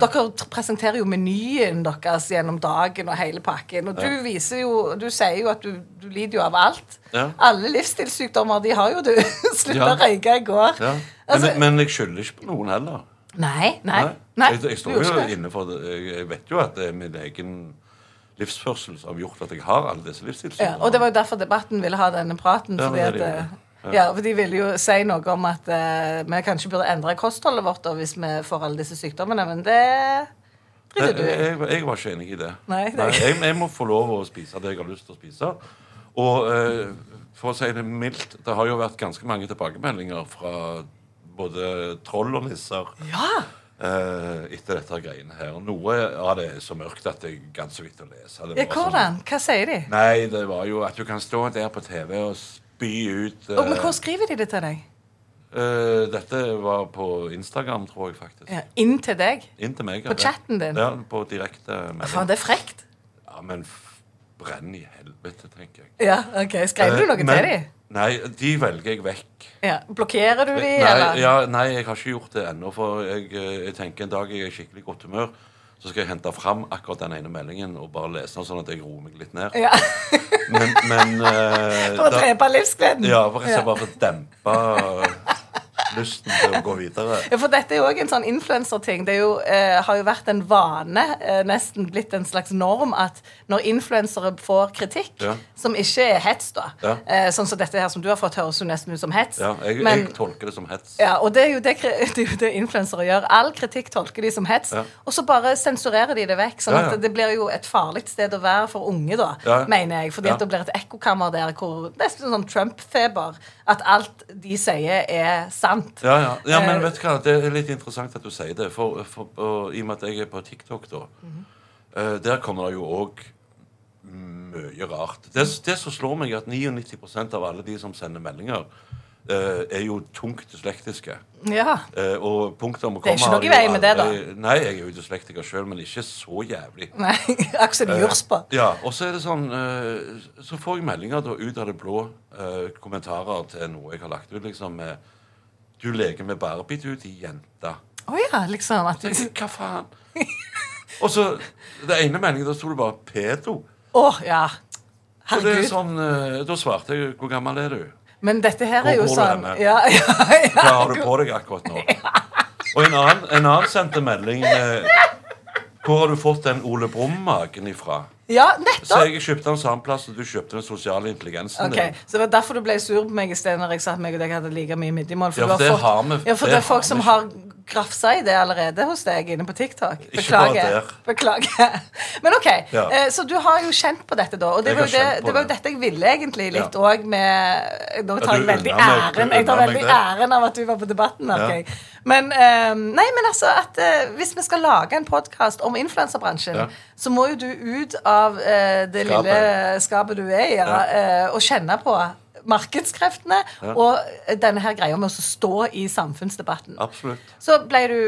[SPEAKER 1] Dere t- presenterer jo menyen deres gjennom dagen og hele pakken. Og du viser jo Du sier jo at du, du lider jo av alt.
[SPEAKER 2] Ja.
[SPEAKER 1] Alle livsstilssykdommer, de har jo du. *laughs* Slutta å
[SPEAKER 2] Ja.
[SPEAKER 1] røyke i går.
[SPEAKER 2] Ja. Men,
[SPEAKER 1] Altså,
[SPEAKER 2] men jeg skylder ikke på noen heller.
[SPEAKER 1] nei, nei. nei
[SPEAKER 2] jeg, jeg
[SPEAKER 1] du
[SPEAKER 2] står
[SPEAKER 1] gjorde
[SPEAKER 2] jo
[SPEAKER 1] ikke det.
[SPEAKER 2] inne for det. Jeg, jeg vet jo at det er min egen livsførsel som har gjort at jeg har alle disse
[SPEAKER 1] Ja, og det
[SPEAKER 2] livsstilssykdommene.
[SPEAKER 1] var jo derfor Debatten ville ha denne praten.
[SPEAKER 2] Ja,
[SPEAKER 1] fordi
[SPEAKER 2] det er
[SPEAKER 1] at,
[SPEAKER 2] det jo, ja.
[SPEAKER 1] eh, ja, for De ville jo si noe om at eh, vi kanskje burde endre kostholdet vårt da, hvis vi får alle disse sykdommene, men det
[SPEAKER 2] jeg,
[SPEAKER 1] driter du i.
[SPEAKER 2] jeg, jeg var ikke enig i det.
[SPEAKER 1] Nei, det er ikke-
[SPEAKER 2] jeg, jeg må få lov å spise det jeg har lyst til å spise. Og eh, for å si det mildt, det har jo vært ganske mange tilbakemeldinger fra både troll og nisser
[SPEAKER 1] Ja!
[SPEAKER 2] eh, etter dette greiene her. Og noe av det er så mørkt at det er ganske vidt å lese. Det
[SPEAKER 1] ja
[SPEAKER 2] var sånn-
[SPEAKER 1] hvordan? Hva sier de?
[SPEAKER 2] Nei, det var jo at du kan stå der på TV og spy ut
[SPEAKER 1] Og, men
[SPEAKER 2] eh,
[SPEAKER 1] hvor skriver de det til deg?
[SPEAKER 2] eh, Dette var på Instagram, tror jeg faktisk.
[SPEAKER 1] Ja, inn til deg?
[SPEAKER 2] Inn til meg.
[SPEAKER 1] På
[SPEAKER 2] ja.
[SPEAKER 1] chatten din?
[SPEAKER 2] Ja, på direkte melding.
[SPEAKER 1] Faen, det er frekt.
[SPEAKER 2] Ja, men f- brenn i helvete, tenker jeg.
[SPEAKER 1] Ja, ok. Skrev du noe
[SPEAKER 2] Eh, men-
[SPEAKER 1] til dem?
[SPEAKER 2] Nei, de velger jeg vekk.
[SPEAKER 1] Ja. Blokkerer du dem,
[SPEAKER 2] Nei,
[SPEAKER 1] eller?
[SPEAKER 2] ja, nei, jeg har ikke gjort det ennå, for jeg, eh, jeg tenker en dag jeg er i skikkelig godt humør, så skal jeg hente fram akkurat den ene meldingen og bare lese den, sånn at jeg roer meg litt ned.
[SPEAKER 1] Ja. *laughs*
[SPEAKER 2] Men, men eh,
[SPEAKER 1] For å
[SPEAKER 2] da-
[SPEAKER 1] drepe livsgleden?
[SPEAKER 2] Ja, for jeg
[SPEAKER 1] Ja.
[SPEAKER 2] skal bare få dempa lysten til å gå videre.
[SPEAKER 1] Ja, for dette er jo også en sånn influenserting. Det er jo, eh, har jo vært en vane, eh, nesten blitt en slags norm, at når influensere får kritikk,
[SPEAKER 2] Ja.
[SPEAKER 1] som ikke er hets, da
[SPEAKER 2] Ja.
[SPEAKER 1] eh, Sånn som dette her som du har fått, høres jo nesten ut som hets.
[SPEAKER 2] Ja, jeg,
[SPEAKER 1] men,
[SPEAKER 2] jeg tolker det som hets.
[SPEAKER 1] ja, og det er jo det, kri- *laughs* det, er jo det influensere gjør. All kritikk tolker de som hets,
[SPEAKER 2] Ja.
[SPEAKER 1] og så bare sensurerer de det vekk. Sånn
[SPEAKER 2] Ja, ja.
[SPEAKER 1] at det blir jo et farlig sted å være for unge, da,
[SPEAKER 2] Ja.
[SPEAKER 1] mener jeg. Fordi
[SPEAKER 2] Ja.
[SPEAKER 1] at det blir et ekkokammer der hvor nesten sånn Trump-feber. At alt de sier, er sant.
[SPEAKER 2] Ja, ja. ja, men
[SPEAKER 1] Eh,
[SPEAKER 2] vet du hva, det er litt interessant at du sier det. For, for, og, I og med at jeg er på TikTok, da,
[SPEAKER 1] Mhm.
[SPEAKER 2] eh, der kommer det jo òg mye rart. Det, det som slår meg, er at 99 av alle de som sender meldinger, eh, er jo tungt dyslektiske.
[SPEAKER 1] Ja.
[SPEAKER 2] Eh, og punktet om å
[SPEAKER 1] Det er
[SPEAKER 2] komme
[SPEAKER 1] ikke noe
[SPEAKER 2] har jo
[SPEAKER 1] i veien med det, da.
[SPEAKER 2] aldri- Nei, jeg er jo dyslektiker sjøl, men ikke så jævlig.
[SPEAKER 1] Nei, *laughs* Aksel Jurspa.
[SPEAKER 2] Ja, og så er det sånn eh, Så får jeg meldinger da ut av det blå eh, kommentarer til noe jeg har lagt ut, liksom med Du leker med Barbie, du, de jenta.
[SPEAKER 1] Å ja, liksom. At
[SPEAKER 2] Jeg
[SPEAKER 1] du,
[SPEAKER 2] tenker, Hva faen? Og så Det ene meldingen, da sto det bare 'pedo'.
[SPEAKER 1] å ja.
[SPEAKER 2] Og det er
[SPEAKER 1] Herregud.
[SPEAKER 2] sånn eh, Da svarte jeg 'Hvor gammel er du?'
[SPEAKER 1] Men dette her er jo
[SPEAKER 2] Hvor
[SPEAKER 1] sånn
[SPEAKER 2] går det henne?
[SPEAKER 1] ja, *laughs* ja, ja.
[SPEAKER 2] Hva har du på deg akkurat nå? Og en annen, en annen sendte melding med 'Hvor har du fått den Ole Brumm-magen ifra?'
[SPEAKER 1] ja,
[SPEAKER 2] Så
[SPEAKER 1] nettopp!
[SPEAKER 2] jeg kjøpte den samme plass som du kjøpte den sosiale intelligensen
[SPEAKER 1] Ok,
[SPEAKER 2] din.
[SPEAKER 1] Så det var derfor du ble sur på meg i stedet når jeg sa at meg og deg hadde like mye midjemål?
[SPEAKER 2] Ja,
[SPEAKER 1] du
[SPEAKER 2] for det har vi-
[SPEAKER 1] ja, for
[SPEAKER 2] det
[SPEAKER 1] det er
[SPEAKER 2] har
[SPEAKER 1] folk
[SPEAKER 2] vi
[SPEAKER 1] som
[SPEAKER 2] ikke.
[SPEAKER 1] har grafsa i det allerede hos deg inne på TikTok.
[SPEAKER 2] Ikke bare
[SPEAKER 1] Beklager.
[SPEAKER 2] der.
[SPEAKER 1] Beklager. *laughs* Men OK,
[SPEAKER 2] Ja.
[SPEAKER 1] eh, så du har jo kjent på dette, da. Og det
[SPEAKER 2] Jeg
[SPEAKER 1] var jo,
[SPEAKER 2] har
[SPEAKER 1] det,
[SPEAKER 2] kjent på
[SPEAKER 1] det var jo
[SPEAKER 2] det.
[SPEAKER 1] dette jeg ville egentlig litt
[SPEAKER 2] Ja.
[SPEAKER 1] òg med Nå
[SPEAKER 2] Ja,
[SPEAKER 1] tar
[SPEAKER 2] du
[SPEAKER 1] jeg veldig
[SPEAKER 2] unner meg- du
[SPEAKER 1] æren Jeg tar
[SPEAKER 2] unner meg
[SPEAKER 1] veldig
[SPEAKER 2] det.
[SPEAKER 1] æren av at du var på Debatten. merker
[SPEAKER 2] Ja.
[SPEAKER 1] jeg. Men, eh, nei, men altså at eh, hvis vi skal lage en podkast om influenserbransjen,
[SPEAKER 2] Ja.
[SPEAKER 1] så må jo du ut av eh, det
[SPEAKER 2] Skapet.
[SPEAKER 1] lille skapet du er i, ja, eh, og kjenne på markedskreftene
[SPEAKER 2] Ja.
[SPEAKER 1] og eh, denne her greia med å stå i samfunnsdebatten.
[SPEAKER 2] Absolutt.
[SPEAKER 1] Så ble du,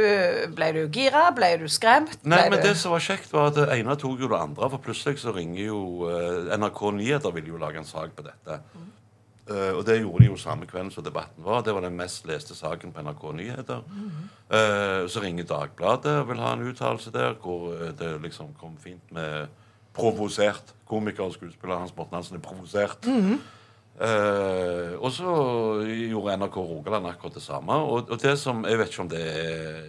[SPEAKER 1] ble du gira? Ble du skremt?
[SPEAKER 2] Nei,
[SPEAKER 1] ble
[SPEAKER 2] men
[SPEAKER 1] du...
[SPEAKER 2] det som var kjekt, var at det ene tok jo det andre. For plutselig så ringer jo eh, NRK Nyheter vil jo lage en sak på dette. Eh, og det gjorde de jo samme kvelden som debatten var. Det var den mest leste saken på NRK Nyheter. Eh, så ringer Dagbladet og vil ha en uttalelse der, hvor eh, det liksom kom fint med provosert. Komiker og skuespiller Hans Morten Hansen er provosert. Eh, og så gjorde NRK Rogaland akkurat det samme. Og, og det som, Jeg vet ikke om det er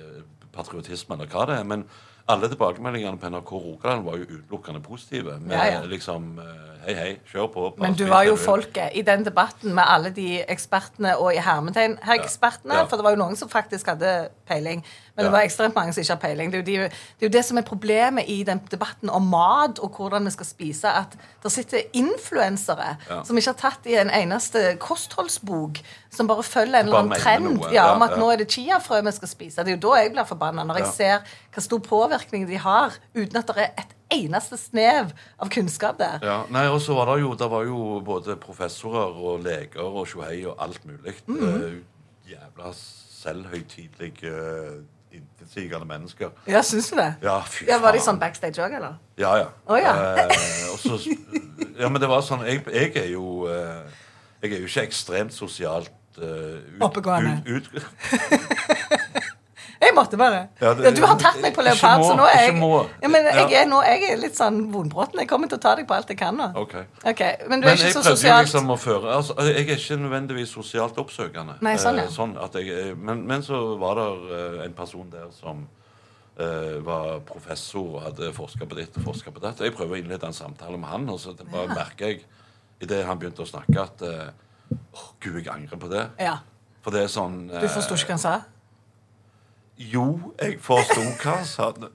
[SPEAKER 2] patriotisme eller hva det er, men alle tilbakemeldingene på NRK Rogaland var jo utelukkende positive. Med
[SPEAKER 1] Ja, ja.
[SPEAKER 2] liksom eh, Hei, hei, kjør på. bare
[SPEAKER 1] Men du
[SPEAKER 2] spill
[SPEAKER 1] var jo
[SPEAKER 2] det vil.
[SPEAKER 1] folket i den debatten med alle de ekspertene og i hermetegn her ekspertene,
[SPEAKER 2] Ja.
[SPEAKER 1] for det var jo noen som faktisk hadde peiling. Men
[SPEAKER 2] Ja.
[SPEAKER 1] det var ekstremt mange som ikke har peiling. Det er, jo de, det er jo det som er problemet i den debatten om mat og hvordan vi skal spise, at der sitter influensere
[SPEAKER 2] Ja.
[SPEAKER 1] som ikke har tatt i en eneste kostholdsbok, som bare følger en
[SPEAKER 2] Bare
[SPEAKER 1] eller annen
[SPEAKER 2] mener
[SPEAKER 1] trend
[SPEAKER 2] noe.
[SPEAKER 1] ja,
[SPEAKER 2] Ja,
[SPEAKER 1] om at
[SPEAKER 2] ja.
[SPEAKER 1] nå er det chiafrø vi skal spise. Det er jo da jeg blir forbanna, når jeg ser hva stor påvirkning de har, uten at det er et eneste snev av kunnskap der.
[SPEAKER 2] Ja, nei, og så var det jo, det var jo både professorer og leger og tjohei og alt mulig.
[SPEAKER 1] Mhm.
[SPEAKER 2] Eh, jævla selvhøytidelige, eh, intetsigende mennesker.
[SPEAKER 1] Ja, syns du det?
[SPEAKER 2] Ja, fy
[SPEAKER 1] ja, Var de
[SPEAKER 2] faen.
[SPEAKER 1] sånn backstage òg, eller?
[SPEAKER 2] Ja, ja.
[SPEAKER 1] Å, ja.
[SPEAKER 2] Eh, og så, ja, men det var sånn Jeg, jeg er jo eh, Jeg er jo ikke ekstremt sosialt eh, ut-
[SPEAKER 1] Oppegående.
[SPEAKER 2] Ut, ut, *laughs*
[SPEAKER 1] Jeg måtte bare.
[SPEAKER 2] Ja,
[SPEAKER 1] Ja,
[SPEAKER 2] det-
[SPEAKER 1] du har tatt meg på
[SPEAKER 2] ikke
[SPEAKER 1] leopard,
[SPEAKER 2] må,
[SPEAKER 1] så nå er jeg
[SPEAKER 2] ikke må.
[SPEAKER 1] ja, men jeg,
[SPEAKER 2] Ja.
[SPEAKER 1] er nå, jeg er litt sånn vonbroten. Jeg kommer til å ta deg på alt jeg kan nå.
[SPEAKER 2] Ok.
[SPEAKER 1] Ok, Men du
[SPEAKER 2] Men
[SPEAKER 1] er ikke
[SPEAKER 2] jeg
[SPEAKER 1] så
[SPEAKER 2] prøvde jo
[SPEAKER 1] sosialt
[SPEAKER 2] liksom å føre altså, Jeg er ikke nødvendigvis sosialt oppsøkende.
[SPEAKER 1] Nei, sånn, ja.
[SPEAKER 2] Eh, sånn at jeg, eh, men, men så var det eh, en person der som eh, var professor og hadde forska på ditt og forska på datt. Jeg prøver å innlede en samtale med han, og så det bare merker jeg idet han begynte å snakke, at eh, Åh, gud, jeg angrer på det.
[SPEAKER 1] Ja,
[SPEAKER 2] For det er sånn
[SPEAKER 1] Du
[SPEAKER 2] eh,
[SPEAKER 1] forsto ikke hva han sa?
[SPEAKER 2] Jo, jeg forsto hva han sa. Skulle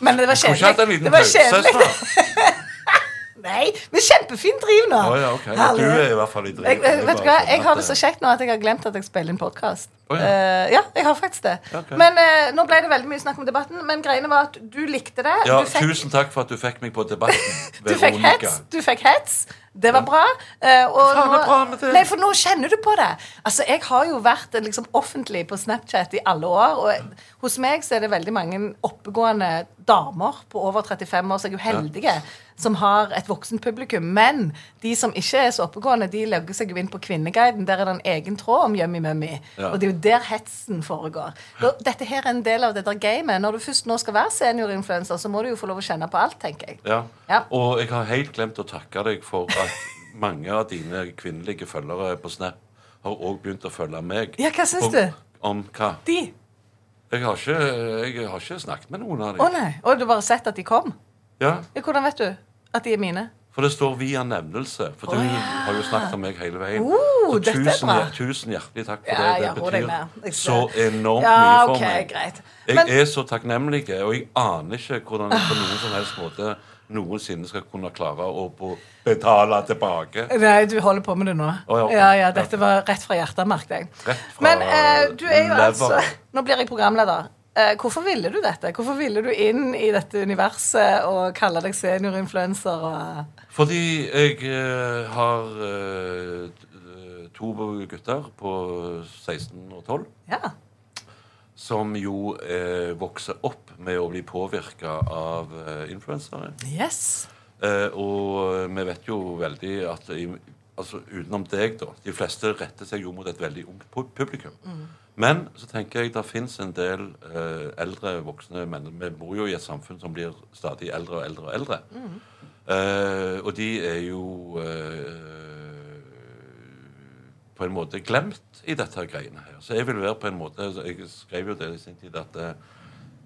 [SPEAKER 1] Men det var
[SPEAKER 2] ikke hatt
[SPEAKER 1] kjedelig.
[SPEAKER 2] en liten
[SPEAKER 1] Det var
[SPEAKER 2] pause,
[SPEAKER 1] kjedelig.
[SPEAKER 2] Ester.
[SPEAKER 1] *laughs* Nei, men kjempefint driv nå.
[SPEAKER 2] Å ja, ok.
[SPEAKER 1] Herlig.
[SPEAKER 2] Du er i hvert fall i driv.
[SPEAKER 1] Jeg, jeg, vet du hva,
[SPEAKER 2] bare skjønner
[SPEAKER 1] jeg
[SPEAKER 2] at eh,
[SPEAKER 1] har det
[SPEAKER 2] det-
[SPEAKER 1] så kjekt nå at jeg har glemt at jeg spiller inn podkast.
[SPEAKER 2] Å, ja.
[SPEAKER 1] ja, jeg har faktisk det.
[SPEAKER 2] Ok.
[SPEAKER 1] Men eh, nå ble det veldig mye snakk om debatten. Men greiene var at du likte det.
[SPEAKER 2] Ja,
[SPEAKER 1] du fikk
[SPEAKER 2] Tusen takk for at du fikk meg på Debatten.
[SPEAKER 1] *laughs* Du fikk
[SPEAKER 2] Veronica.
[SPEAKER 1] hets. Du fikk hets. Det var bra. eh, og
[SPEAKER 2] Faen, det er
[SPEAKER 1] nå-
[SPEAKER 2] bra med det.
[SPEAKER 1] Nei, for nå kjenner du på det. Altså, Jeg har jo vært eh, liksom, offentlig på Snapchat i alle år. Og jeg- hos meg så er det veldig mange oppegående damer på over 35 år som er jo heldige, som har et voksent publikum. Men de som ikke er så oppegående, de legger seg jo inn på Kvinneguiden. Der er det en egen tråd om Yummy Mummy.
[SPEAKER 2] Ja.
[SPEAKER 1] Og det er jo der hetsen foregår. Da- Dette her er en del av det der gamet. Når du først nå skal være seniorinfluenser, så må du jo få lov å kjenne på alt, tenker jeg.
[SPEAKER 2] Ja.
[SPEAKER 1] Ja.
[SPEAKER 2] Og jeg har helt glemt å takke deg for at mange av dine kvinnelige følgere på Snap har òg begynt å følge meg.
[SPEAKER 1] Ja, hva syns
[SPEAKER 2] om,
[SPEAKER 1] du?
[SPEAKER 2] Om hva?
[SPEAKER 1] De
[SPEAKER 2] Jeg har, ikke, jeg har ikke snakket med noen av
[SPEAKER 1] Å
[SPEAKER 2] dem.
[SPEAKER 1] nei, og du har bare sett at de kom?
[SPEAKER 2] Ja,
[SPEAKER 1] Ja, Hvordan vet du at de er mine?
[SPEAKER 2] for det står 'via nevnelse'. For du har jo snakket om meg hele veien.
[SPEAKER 1] Oh,
[SPEAKER 2] Så
[SPEAKER 1] dette er
[SPEAKER 2] tusen,
[SPEAKER 1] bra.
[SPEAKER 2] hjer- tusen hjertelig takk for
[SPEAKER 1] Ja,
[SPEAKER 2] det.
[SPEAKER 1] ja,
[SPEAKER 2] Det
[SPEAKER 1] ro deg ned.
[SPEAKER 2] betyr
[SPEAKER 1] Jeg ser.
[SPEAKER 2] så enormt
[SPEAKER 1] Ja,
[SPEAKER 2] mye for
[SPEAKER 1] ok,
[SPEAKER 2] meg.
[SPEAKER 1] greit.
[SPEAKER 2] Jeg
[SPEAKER 1] Men-
[SPEAKER 2] er så takknemlig, og jeg aner ikke hvordan jeg på noen som helst måte noensinne skal kunne klare å på- betale tilbake.
[SPEAKER 1] Nei, du holder på med det nå.
[SPEAKER 2] Å, ja, ok.
[SPEAKER 1] Ja, ja, dette var rett fra hjertet, merket jeg.
[SPEAKER 2] Rett fra
[SPEAKER 1] Men eh, du er jo
[SPEAKER 2] leveren.
[SPEAKER 1] altså Nå blir jeg programleder. Eh, hvorfor ville du dette? Hvorfor ville du inn i dette universet og kalle deg seniorinfluenser og
[SPEAKER 2] Fordi jeg eh, har eh, t- eh, to gutter på 16 og 12
[SPEAKER 1] Ja.
[SPEAKER 2] som jo eh, vokser opp med å bli påvirka av eh, influensere.
[SPEAKER 1] Yes.
[SPEAKER 2] Eh, og vi vet jo veldig at i, altså, utenom deg, da De fleste retter seg jo mot et veldig ungt pu- publikum. Men så tenker jeg det fins en del eh, eldre voksne menn. Vi bor jo i et samfunn som blir stadig eldre og eldre og eldre. Eh, og de er jo eh, på en måte glemt i dette her greiene her. Så jeg vil være på en måte altså, Jeg skrev jo det i sin tid at eh,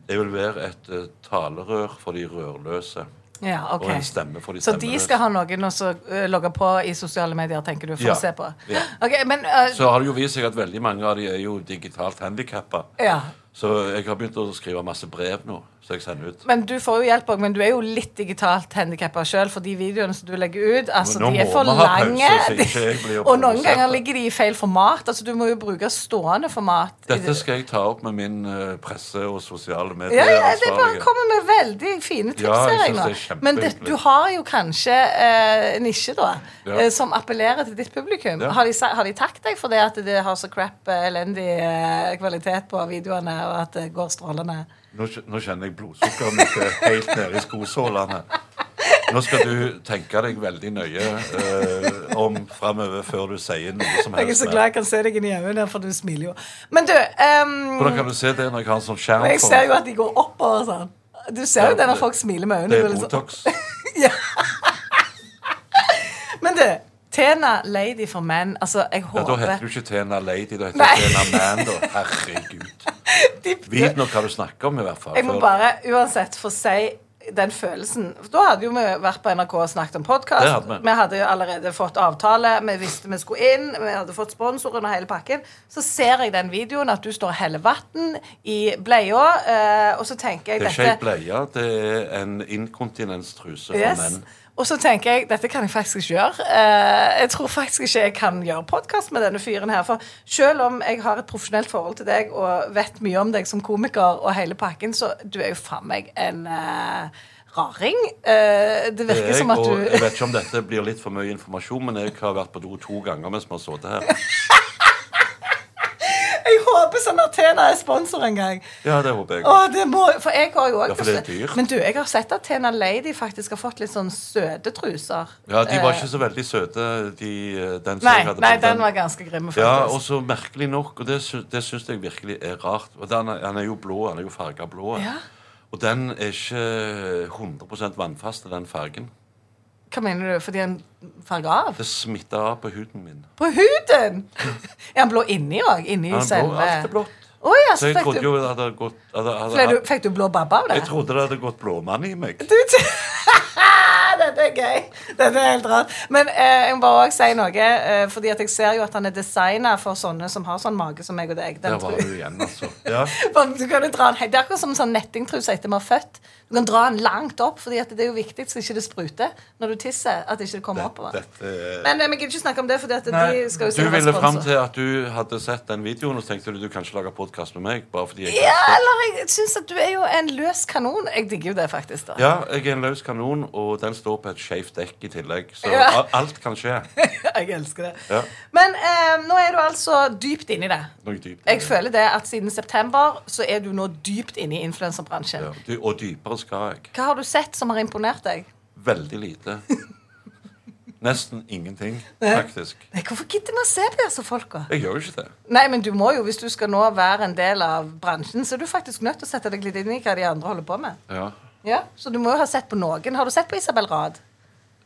[SPEAKER 2] jeg vil være et eh, talerør for de rørløse.
[SPEAKER 1] Ja, ok.
[SPEAKER 2] Og en stemme for de
[SPEAKER 1] Så de
[SPEAKER 2] stemmeløse.
[SPEAKER 1] skal ha noen å eh, logge på i sosiale medier, tenker du, for
[SPEAKER 2] Ja.
[SPEAKER 1] å se på?
[SPEAKER 2] Ja.
[SPEAKER 1] Ok, men eh,
[SPEAKER 2] Så har det jo vist seg at veldig mange av de er jo digitalt handikappa.
[SPEAKER 1] Ja.
[SPEAKER 2] Så jeg har begynt å skrive masse brev nå, så jeg sender ut.
[SPEAKER 1] Men du får jo hjelp òg, men du er jo litt digitalt handikappa sjøl, for de videoene som du legger ut, altså,
[SPEAKER 2] nå
[SPEAKER 1] de er
[SPEAKER 2] må
[SPEAKER 1] for
[SPEAKER 2] vi ha pause,
[SPEAKER 1] lange.
[SPEAKER 2] så ikke jeg blir
[SPEAKER 1] *laughs* og noen
[SPEAKER 2] provosert.
[SPEAKER 1] ganger ligger de i feil format. Altså, du må jo bruke stående format. i
[SPEAKER 2] Dette
[SPEAKER 1] det.
[SPEAKER 2] skal jeg ta opp med min eh, presse- og sosiale
[SPEAKER 1] ja, ja, det er bare
[SPEAKER 2] medier-ansvarlige.
[SPEAKER 1] kommer med veldig fine tips.
[SPEAKER 2] Ja, jeg
[SPEAKER 1] ser jeg
[SPEAKER 2] synes
[SPEAKER 1] nå.
[SPEAKER 2] det er
[SPEAKER 1] Men det,
[SPEAKER 2] kjempehyggelig.
[SPEAKER 1] du har jo kanskje eh, nisje, da,
[SPEAKER 2] Ja.
[SPEAKER 1] eh, som appellerer til ditt publikum.
[SPEAKER 2] Ja.
[SPEAKER 1] Har, de, sa- har de takt deg for det at det har så crap, eh, elendig eh, kvalitet på videoene, og at det går strålende?
[SPEAKER 2] Nå, kj- nå kjenner jeg blodsukkeret mitt er helt nede i skosålene. Nå skal du tenke deg veldig nøye eh, om framover før du sier noe som helst.
[SPEAKER 1] Jeg er så
[SPEAKER 2] mer.
[SPEAKER 1] glad jeg kan se deg inn i øynene, for du smiler jo. Men du ehm,
[SPEAKER 2] Hvordan kan du se det når jeg har en sånn skjerm
[SPEAKER 1] Men jeg
[SPEAKER 2] for
[SPEAKER 1] ser jo at de går oppover sånn. Du ser jo
[SPEAKER 2] Ja,
[SPEAKER 1] det når
[SPEAKER 2] det-
[SPEAKER 1] folk smiler med øynene.
[SPEAKER 2] Det
[SPEAKER 1] Det
[SPEAKER 2] er
[SPEAKER 1] er litt sånn-
[SPEAKER 2] Botox.
[SPEAKER 1] Men du, Tena Lady for menn Altså, jeg
[SPEAKER 2] Ja, da
[SPEAKER 1] håper
[SPEAKER 2] heter du ikke Tena Lady, da heter
[SPEAKER 1] Nei.
[SPEAKER 2] du Tena Man. Da. Herregud.
[SPEAKER 1] de,
[SPEAKER 2] Vit nå hva du snakker om, i hvert fall.
[SPEAKER 1] Jeg må
[SPEAKER 2] før-
[SPEAKER 1] bare uansett få si den følelsen. Da hadde jo vi vært på NRK og snakket om podkast.
[SPEAKER 2] Det hadde vi.
[SPEAKER 1] Vi hadde jo allerede fått avtale, vi visste vi skulle inn, vi hadde fått sponsoren og hele pakken. Så ser jeg den videoen at du står og heller vann i bleia, eh, og så tenker jeg
[SPEAKER 2] det er ikke ei
[SPEAKER 1] dette
[SPEAKER 2] bleie, det er en inkontinenstruse for
[SPEAKER 1] yes.
[SPEAKER 2] menn.
[SPEAKER 1] Og så tenker jeg dette kan jeg faktisk ikke gjøre. Eh, jeg tror faktisk ikke jeg kan gjøre podkast med denne fyren her. For selv om jeg har et profesjonelt forhold til deg og vet mye om deg som komiker, og hele pakken, så du er jo faen meg en eh, raring. Eh, det
[SPEAKER 2] Det er
[SPEAKER 1] virker
[SPEAKER 2] jeg,
[SPEAKER 1] som at
[SPEAKER 2] og jeg
[SPEAKER 1] du
[SPEAKER 2] vet ikke om dette blir litt for mye informasjon, men jeg har vært på do to ganger mens vi har sittet her.
[SPEAKER 1] *laughs* Jeg håper sånn at Tena er sponsor en gang.
[SPEAKER 2] Ja, det håper jeg.
[SPEAKER 1] Å, det må, for jeg har jo
[SPEAKER 2] Ja, for
[SPEAKER 1] også
[SPEAKER 2] det er dyrt.
[SPEAKER 1] Men du, jeg har sett at Tena Lady faktisk har fått litt sånn søte truser.
[SPEAKER 2] Ja, De var
[SPEAKER 1] Eh,
[SPEAKER 2] ikke så veldig søte, de, eh, den som
[SPEAKER 1] Nei,
[SPEAKER 2] jeg hadde
[SPEAKER 1] nei,
[SPEAKER 2] på
[SPEAKER 1] den var ganske altså. grim. faktisk.
[SPEAKER 2] Ja, og så merkelig nok, og det, sy det syns jeg virkelig er rart og den, er- Han er jo blå, han er jo farga blå.
[SPEAKER 1] Ja.
[SPEAKER 2] Og den er ikke 100 vannfast, den fargen.
[SPEAKER 1] Hva mener du? Fordi han farger av?
[SPEAKER 2] Det smitter av på huden min.
[SPEAKER 1] På huden! er han blå inni òg? Inni
[SPEAKER 2] Ja, han blå,
[SPEAKER 1] selve
[SPEAKER 2] alt er blått.
[SPEAKER 1] Å ja,
[SPEAKER 2] Så
[SPEAKER 1] så
[SPEAKER 2] jeg
[SPEAKER 1] fikk
[SPEAKER 2] trodde
[SPEAKER 1] du,
[SPEAKER 2] jo det hadde gått hadde, hadde,
[SPEAKER 1] ble du, fikk du blå babba av det?
[SPEAKER 2] Jeg
[SPEAKER 1] *laughs*
[SPEAKER 2] trodde det hadde gått blåmann i meg.
[SPEAKER 1] Du t- Ah, Dette er gøy. Dette er helt rart. Men eh, jeg må bare også si noe, eh, fordi at jeg ser jo at han er designa for sånne som har sånn mage som meg og deg. Den
[SPEAKER 2] Der var
[SPEAKER 1] tru-
[SPEAKER 2] du igjen, altså.
[SPEAKER 1] *laughs*
[SPEAKER 2] Ja.
[SPEAKER 1] For du kan jo dra den, he- det er akkurat som en sånn nettingtruse etter vi er født. Du kan dra den langt opp, Fordi at det er jo viktig så ikke det spruter når du tisser. At ikke det kommer oppover.
[SPEAKER 2] Dette-
[SPEAKER 1] Men eh, vi gidder ikke snakke om det, Fordi at de skal jo sikkert
[SPEAKER 2] Du
[SPEAKER 1] ha
[SPEAKER 2] ville fram
[SPEAKER 1] sponsor.
[SPEAKER 2] til at du hadde sett den videoen, og så tenkte du du kan ikke lage podkast med meg. bare fordi jeg
[SPEAKER 1] Ja, eller jeg syns at du er jo en løs kanon. Jeg digger jo det, faktisk. da
[SPEAKER 2] Ja, jeg er en løs kanon, og den står på et skeivt dekk i tillegg. Så
[SPEAKER 1] Ja.
[SPEAKER 2] a- alt kan skje.
[SPEAKER 1] *laughs* Jeg elsker det.
[SPEAKER 2] Ja.
[SPEAKER 1] Men eh, nå er du altså dypt inni det.
[SPEAKER 2] Noe dypt.
[SPEAKER 1] *laughs* Jeg føler det at siden september så er du nå dypt inne i influenserbransjen.
[SPEAKER 2] Ja, du, og dypere skal jeg.
[SPEAKER 1] Hva har du sett som har imponert deg?
[SPEAKER 2] Veldig lite.
[SPEAKER 1] *laughs*
[SPEAKER 2] Nesten ingenting, faktisk.
[SPEAKER 1] Nei, Hvorfor gidder vi å se på disse folka?
[SPEAKER 2] Jeg gjør jo ikke det.
[SPEAKER 1] Nei, men du må jo, Hvis du skal nå være en del av bransjen, så er du faktisk nødt til å sette deg litt inn i hva de andre holder på med.
[SPEAKER 2] Ja,
[SPEAKER 1] Ja, Så du må jo ha sett på noen. Har du sett på Isabel Rad?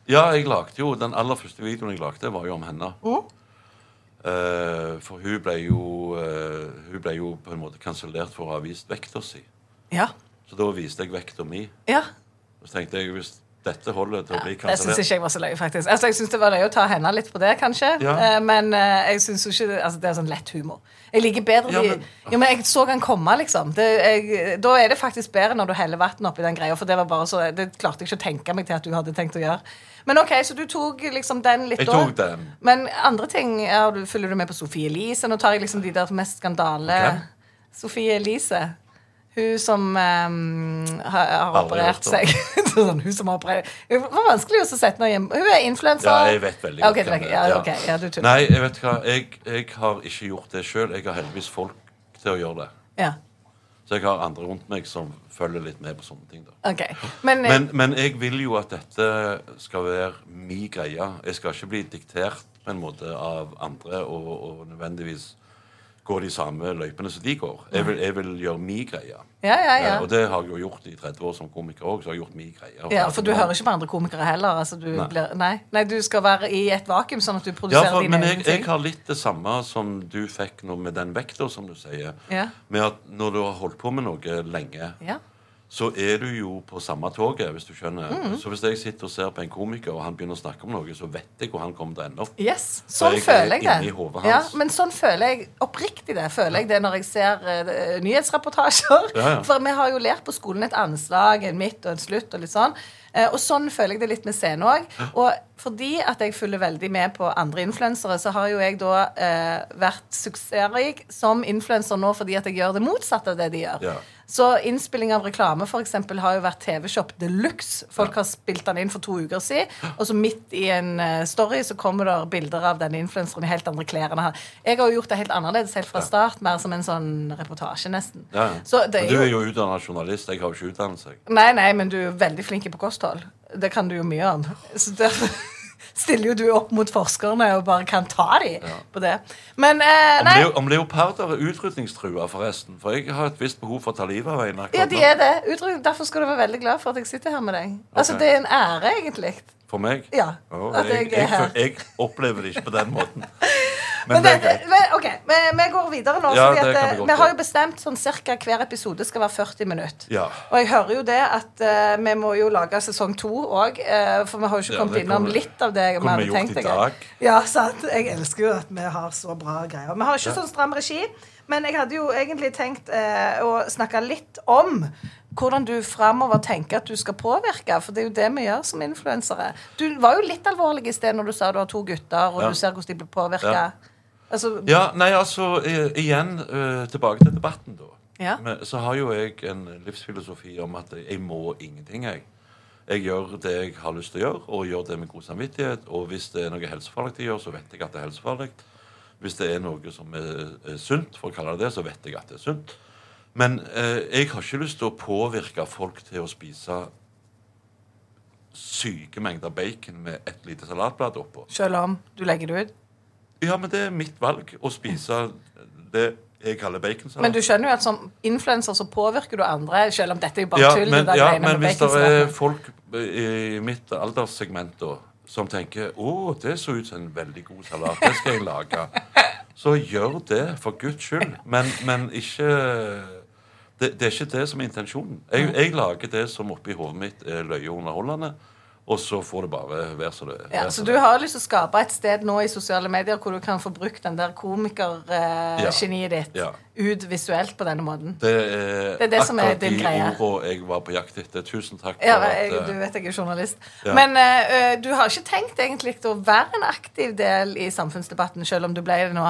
[SPEAKER 2] ja jeg lagde jo, Den aller første videoen jeg lagde, var jo om henne.
[SPEAKER 1] Mhm.
[SPEAKER 2] Eh, for hun ble jo eh, Hun ble jo på en måte kansellert for å ha vist vekta si.
[SPEAKER 1] Ja.
[SPEAKER 2] Så da viste jeg vekta mi.
[SPEAKER 1] ja.
[SPEAKER 2] Og så tenkte jeg hvis dette holder til å bli
[SPEAKER 1] Jeg syns
[SPEAKER 2] kansellert
[SPEAKER 1] ikke jeg var så løye, faktisk. Altså, jeg synes Det var løye å ta henne litt på det, kanskje.
[SPEAKER 2] Ja.
[SPEAKER 1] Eh, Men eh, jeg synes jo ikke det- altså, det er sånn lett humor. Jeg liker bedre
[SPEAKER 2] Ja,
[SPEAKER 1] de
[SPEAKER 2] men-
[SPEAKER 1] Jo, men jeg så han komme, liksom. Det, jeg, da er det faktisk bedre når du heller vann oppi den greia, for det var bare så Det klarte jeg ikke å tenke meg til at du hadde tenkt å gjøre. Men OK, så du tok liksom den litt
[SPEAKER 2] Jeg
[SPEAKER 1] da.
[SPEAKER 2] tok den.
[SPEAKER 1] Men andre ting ja, du, Følger du med på Sofie Elise? Nå tar jeg liksom de der mest skandale
[SPEAKER 2] Ok.
[SPEAKER 1] Sofie Elise. Hun som ehm, har, har
[SPEAKER 2] Aldri
[SPEAKER 1] operert
[SPEAKER 2] hørt om.
[SPEAKER 1] seg. *laughs* sånn, hun som har operert Det var vanskelig å sette noe hjem. Hun er influenser.
[SPEAKER 2] Ja, jeg vet veldig
[SPEAKER 1] Ja,
[SPEAKER 2] godt
[SPEAKER 1] ok,
[SPEAKER 2] hvem
[SPEAKER 1] det
[SPEAKER 2] det
[SPEAKER 1] er- ja,
[SPEAKER 2] er. Ja.
[SPEAKER 1] ok, ja, du tuller.
[SPEAKER 2] Nei, jeg vet hva, jeg, jeg har ikke gjort det sjøl. Jeg har heldigvis folk til å gjøre det.
[SPEAKER 1] Ja,
[SPEAKER 2] Så jeg har andre rundt meg som følger litt med på sånne ting. da.
[SPEAKER 1] ok. Men, eh,
[SPEAKER 2] Men, men jeg vil jo at dette skal være mi greie. Jeg skal ikke bli diktert på en måte av andre og, og nødvendigvis gå de samme løypene som de går. Jeg vil, jeg vil gjøre mi greie.
[SPEAKER 1] ja, ja,
[SPEAKER 2] Eh, Og
[SPEAKER 1] ja.
[SPEAKER 2] det har jeg jo gjort i 30 år som komiker òg.
[SPEAKER 1] ja. For du hører ikke på andre komikere heller? Altså, du
[SPEAKER 2] Nei.
[SPEAKER 1] Blir, nei. nei, du skal være i et vakuum, sånn at du
[SPEAKER 2] Ja,
[SPEAKER 1] produserer
[SPEAKER 2] for,
[SPEAKER 1] dine
[SPEAKER 2] men
[SPEAKER 1] egne
[SPEAKER 2] jeg, jeg
[SPEAKER 1] ting?
[SPEAKER 2] har litt det samme som du fikk nå med den vekta, som du sier.
[SPEAKER 1] Ja.
[SPEAKER 2] Med at når du har holdt på med noe lenge,
[SPEAKER 1] Ja.
[SPEAKER 2] så er du jo på samme toget, hvis du skjønner.
[SPEAKER 1] Mm.
[SPEAKER 2] Så hvis jeg sitter og ser på en komiker, og han begynner å snakke om noe, så vet jeg hvor han kommer til å ende opp.
[SPEAKER 1] Yes,
[SPEAKER 2] Så
[SPEAKER 1] sånn
[SPEAKER 2] jeg er
[SPEAKER 1] føler jeg
[SPEAKER 2] inni
[SPEAKER 1] det.
[SPEAKER 2] hodet
[SPEAKER 1] Ja,
[SPEAKER 2] hans.
[SPEAKER 1] men sånn føler jeg oppriktig det føler jeg det når jeg ser eh, nyhetsreportasjer.
[SPEAKER 2] Ja, ja.
[SPEAKER 1] *laughs* For vi har jo lært på skolen et anslag, en midt og en slutt og litt sånn. Eh, og sånn føler jeg det litt med scenen òg. Og fordi at jeg følger veldig med på andre influensere, så har jo jeg da eh, vært suksessrik som influenser nå fordi at jeg gjør det motsatte av det de gjør.
[SPEAKER 2] Ja.
[SPEAKER 1] Så innspilling av reklame for eksempel, har jo vært TV-shop de luxe. Folk har spilt den inn for to uker siden, og så midt i en eh, story så kommer det bilder av denne influenseren i helt andre klær enn han. Jeg har jo gjort det helt annerledes helt fra start, mer som en sånn reportasje, nesten.
[SPEAKER 2] Ja, ja.
[SPEAKER 1] Så det
[SPEAKER 2] Men
[SPEAKER 1] er jo
[SPEAKER 2] du er jo utdanna journalist. Jeg har jo ikke utdannelse. jeg.
[SPEAKER 1] Nei, nei, men du er veldig flink på kosthold. Det kan du jo mye om. Så derfor *laughs* stiller jo du opp mot forskerne og bare kan ta de på det. Men eh,
[SPEAKER 2] Om,
[SPEAKER 1] nei,
[SPEAKER 2] leo, om leoparder er utrydningstrua, forresten. For jeg har et visst behov for å ta livet av en. akkurat
[SPEAKER 1] ja, de
[SPEAKER 2] nå.
[SPEAKER 1] er det. Utrydning. Derfor skal du være veldig glad for at jeg sitter her med deg. Altså,
[SPEAKER 2] Ok.
[SPEAKER 1] Det er en ære, egentlig.
[SPEAKER 2] For meg?
[SPEAKER 1] Ja,
[SPEAKER 2] Å,
[SPEAKER 1] at
[SPEAKER 2] jeg,
[SPEAKER 1] jeg er
[SPEAKER 2] jeg,
[SPEAKER 1] her.
[SPEAKER 2] fø- jeg opplever det ikke på den
[SPEAKER 1] *laughs*
[SPEAKER 2] måten. Men
[SPEAKER 1] Men
[SPEAKER 2] det er
[SPEAKER 1] det,
[SPEAKER 2] greit.
[SPEAKER 1] men, OK, vi, vi går videre nå.
[SPEAKER 2] Ja,
[SPEAKER 1] fordi
[SPEAKER 2] det
[SPEAKER 1] at,
[SPEAKER 2] kan vi
[SPEAKER 1] eh,
[SPEAKER 2] godt
[SPEAKER 1] vi har
[SPEAKER 2] gjøre.
[SPEAKER 1] jo bestemt sånn cirka hver episode skal være 40 minutter.
[SPEAKER 2] Ja.
[SPEAKER 1] Og jeg hører jo det at eh, vi må jo lage sesong to òg, for vi har jo ikke
[SPEAKER 2] Ja,
[SPEAKER 1] kommet
[SPEAKER 2] det
[SPEAKER 1] innom
[SPEAKER 2] kunne-
[SPEAKER 1] litt av det vi
[SPEAKER 2] kunne
[SPEAKER 1] hadde
[SPEAKER 2] vi gjort
[SPEAKER 1] tenkt.
[SPEAKER 2] i
[SPEAKER 1] jeg.
[SPEAKER 2] dag.
[SPEAKER 1] Ja, sant. Jeg elsker jo at vi har så bra greier. Vi har ikke sånn stram regi, men jeg hadde jo egentlig tenkt eh, å snakke litt om hvordan du framover tenker at du skal påvirke, for det er jo det vi gjør som influensere. Du var jo litt alvorlig i sted når du sa du har to gutter, og du
[SPEAKER 2] Ja.
[SPEAKER 1] ser hvordan de blir påvirka.
[SPEAKER 2] Ja.
[SPEAKER 1] Altså,
[SPEAKER 2] Ja, nei, altså, eh, igjen eh, tilbake til debatten, da.
[SPEAKER 1] Ja.
[SPEAKER 2] Men, så har jo jeg en livsfilosofi om at jeg må ingenting, jeg. Jeg gjør det jeg har lyst til å gjøre, og gjør det med god samvittighet. Og hvis det er noe helsefarlig jeg gjør, så vet jeg at det er helsefarlig. Hvis det er noe som er, er sunt, for å kalle det det, så vet jeg at det er sunt. Men eh, jeg har ikke lyst til å påvirke folk til å spise syke mengder bacon med et lite salatblad oppå.
[SPEAKER 1] Selv om du legger det ut.
[SPEAKER 2] Ja, men det er mitt valg å spise det jeg kaller baconsalat.
[SPEAKER 1] Men du skjønner jo at som influenser så påvirker du andre, selv om dette er jo bare
[SPEAKER 2] ja,
[SPEAKER 1] tull.
[SPEAKER 2] men,
[SPEAKER 1] det der
[SPEAKER 2] ja,
[SPEAKER 1] greiene
[SPEAKER 2] men
[SPEAKER 1] med
[SPEAKER 2] hvis det er
[SPEAKER 1] baconsalaten.
[SPEAKER 2] folk i mitt alderssegment da, som tenker å, det så ut som en veldig god salat, det skal jeg
[SPEAKER 1] *laughs*
[SPEAKER 2] lage, så gjør det, for guds skyld. Men, men ikke det, det er ikke det som er intensjonen. Jeg, jeg lager det som oppi hodet mitt er løye og underholdende, og så får det bare være som det er.
[SPEAKER 1] Ja, så du har lyst til å skape et sted nå i sosiale medier hvor du kan få brukt den der
[SPEAKER 2] Ja.
[SPEAKER 1] komikergeniet ditt
[SPEAKER 2] Ja.
[SPEAKER 1] ut visuelt på denne måten.
[SPEAKER 2] Det er,
[SPEAKER 1] Det er det som er
[SPEAKER 2] akkurat
[SPEAKER 1] din
[SPEAKER 2] de
[SPEAKER 1] greie.
[SPEAKER 2] ordene jeg var på jakt etter. Tusen takk.
[SPEAKER 1] Ja,
[SPEAKER 2] for
[SPEAKER 1] jeg,
[SPEAKER 2] at, eh,
[SPEAKER 1] du vet jeg er journalist.
[SPEAKER 2] Ja.
[SPEAKER 1] Men eh, eh, du har ikke tenkt egentlig å være en aktiv del i samfunnsdebatten, selv om du ble det nå?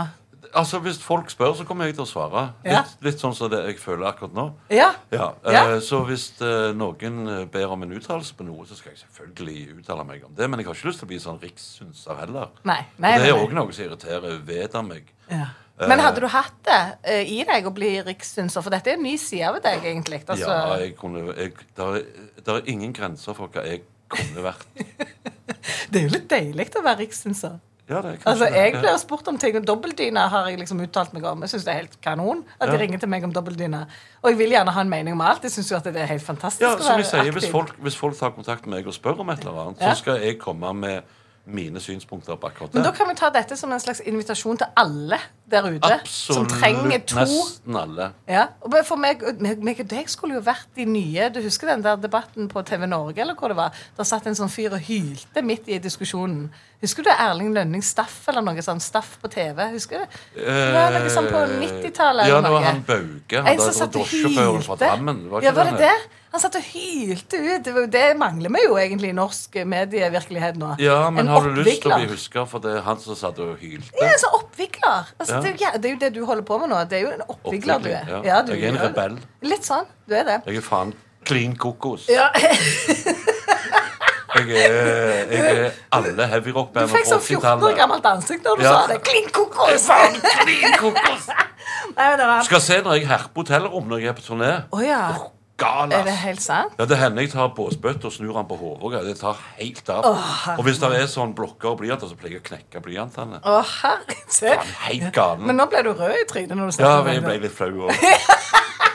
[SPEAKER 2] Altså, Hvis folk spør, så kommer jeg til å svare.
[SPEAKER 1] Ja.
[SPEAKER 2] Litt, litt sånn som det jeg føler akkurat nå.
[SPEAKER 1] Ja.
[SPEAKER 2] Ja,
[SPEAKER 1] Ja.
[SPEAKER 2] eh, Så hvis eh, noen eh, ber om en uttalelse på noe, så skal jeg selvfølgelig uttale meg om det. Men jeg har ikke lyst til å bli sånn rikssynser heller.
[SPEAKER 1] Nei, nei,
[SPEAKER 2] Og det er
[SPEAKER 1] nei, nei.
[SPEAKER 2] òg noe som irriterer veder meg.
[SPEAKER 1] Ja. Men hadde du hatt det eh, i deg å bli rikssynser? For dette er en ny side ved deg, egentlig. Altså,
[SPEAKER 2] Ja, jeg kunne jeg, der, er- der er ingen grenser for hva jeg kunne vært.
[SPEAKER 1] Det er jo litt deilig å være rikssynser.
[SPEAKER 2] Ja, det er kanskje
[SPEAKER 1] Altså,
[SPEAKER 2] det.
[SPEAKER 1] Jeg
[SPEAKER 2] Ja.
[SPEAKER 1] blir spurt om ting, og dobbeltdyne har jeg liksom uttalt meg om. Jeg synes det er helt kanon at de
[SPEAKER 2] Ja.
[SPEAKER 1] ringer til meg om dobbeltdyne. Og jeg vil gjerne ha en mening om alt. Jeg synes jo at det er helt fantastisk
[SPEAKER 2] Ja,
[SPEAKER 1] å
[SPEAKER 2] som
[SPEAKER 1] være
[SPEAKER 2] jeg sier, hvis
[SPEAKER 1] aktiv.
[SPEAKER 2] folk, hvis folk tar kontakt med meg og spør om et eller annet,
[SPEAKER 1] Ja.
[SPEAKER 2] så skal jeg komme med mine synspunkter på akkurat det.
[SPEAKER 1] Men da kan vi ta dette som en slags invitasjon til alle der ute som
[SPEAKER 2] Absolutt
[SPEAKER 1] trenger to.
[SPEAKER 2] nesten alle.
[SPEAKER 1] Ja, og bare for meg, meg, meg og deg skulle jo vært de nye Du husker den der debatten på TV Norge? eller hvor det var? Der satt en sånn fyr og hylte midt i diskusjonen. Husker du Erling Lønning Staff eller noe sånn Staff på TV? Husker du? Det var noe sånn på 90-tallet.
[SPEAKER 2] Eh, Ja,
[SPEAKER 1] eller
[SPEAKER 2] det var
[SPEAKER 1] noe.
[SPEAKER 2] han Bauke. Han
[SPEAKER 1] En som
[SPEAKER 2] der
[SPEAKER 1] satt og
[SPEAKER 2] drosjesjåføren fra
[SPEAKER 1] hylte.
[SPEAKER 2] Drammen.
[SPEAKER 1] ja, var
[SPEAKER 2] han
[SPEAKER 1] det det? Han satt og hylte ut. Det, var jo, det mangler vi jo egentlig i norsk medievirkelighet nå.
[SPEAKER 2] Ja, men
[SPEAKER 1] En
[SPEAKER 2] har du lyst til å
[SPEAKER 1] oppvikler.
[SPEAKER 2] bli huska for det er han som satt og hylte?
[SPEAKER 1] Ja, altså oppvikler. Altså,
[SPEAKER 2] Ja.
[SPEAKER 1] det, er jo, jæ- det er jo det du holder på med nå. Det er jo en oppvikler du er.
[SPEAKER 2] Oppvikling, ja.
[SPEAKER 1] du
[SPEAKER 2] Jeg er en
[SPEAKER 1] gjør det.
[SPEAKER 2] rebell.
[SPEAKER 1] Litt sånn. Du er det.
[SPEAKER 2] Jeg er faen klin kokos.
[SPEAKER 1] Ja.
[SPEAKER 2] Jeg, er, jeg er alle
[SPEAKER 1] Du
[SPEAKER 2] heavyrock-band
[SPEAKER 1] fikk sånn 14 år gammelt ansikt når du
[SPEAKER 2] Ja.
[SPEAKER 1] sa det. Klink kokos!
[SPEAKER 2] Faen, klin kokos!
[SPEAKER 1] Nei, men det var...
[SPEAKER 2] Skal se når jeg herper hotellrom når jeg er på turné.
[SPEAKER 1] Å ja.
[SPEAKER 2] Gal,
[SPEAKER 1] Er det
[SPEAKER 2] ass.
[SPEAKER 1] helt sant?
[SPEAKER 2] Ja, Det hender jeg tar båsbøtte og snur den på hodet. og greier. Det tar helt av.
[SPEAKER 1] Åh,
[SPEAKER 2] og hvis det er sånn blokker og blyanter, så pleier jeg å knekke blyantene.
[SPEAKER 1] Å, herre se.
[SPEAKER 2] Faen, helt galen.
[SPEAKER 1] Men nå ble du rød i trynet når du snakket
[SPEAKER 2] Ja,
[SPEAKER 1] om
[SPEAKER 2] men jeg
[SPEAKER 1] det.
[SPEAKER 2] ble litt flau òg.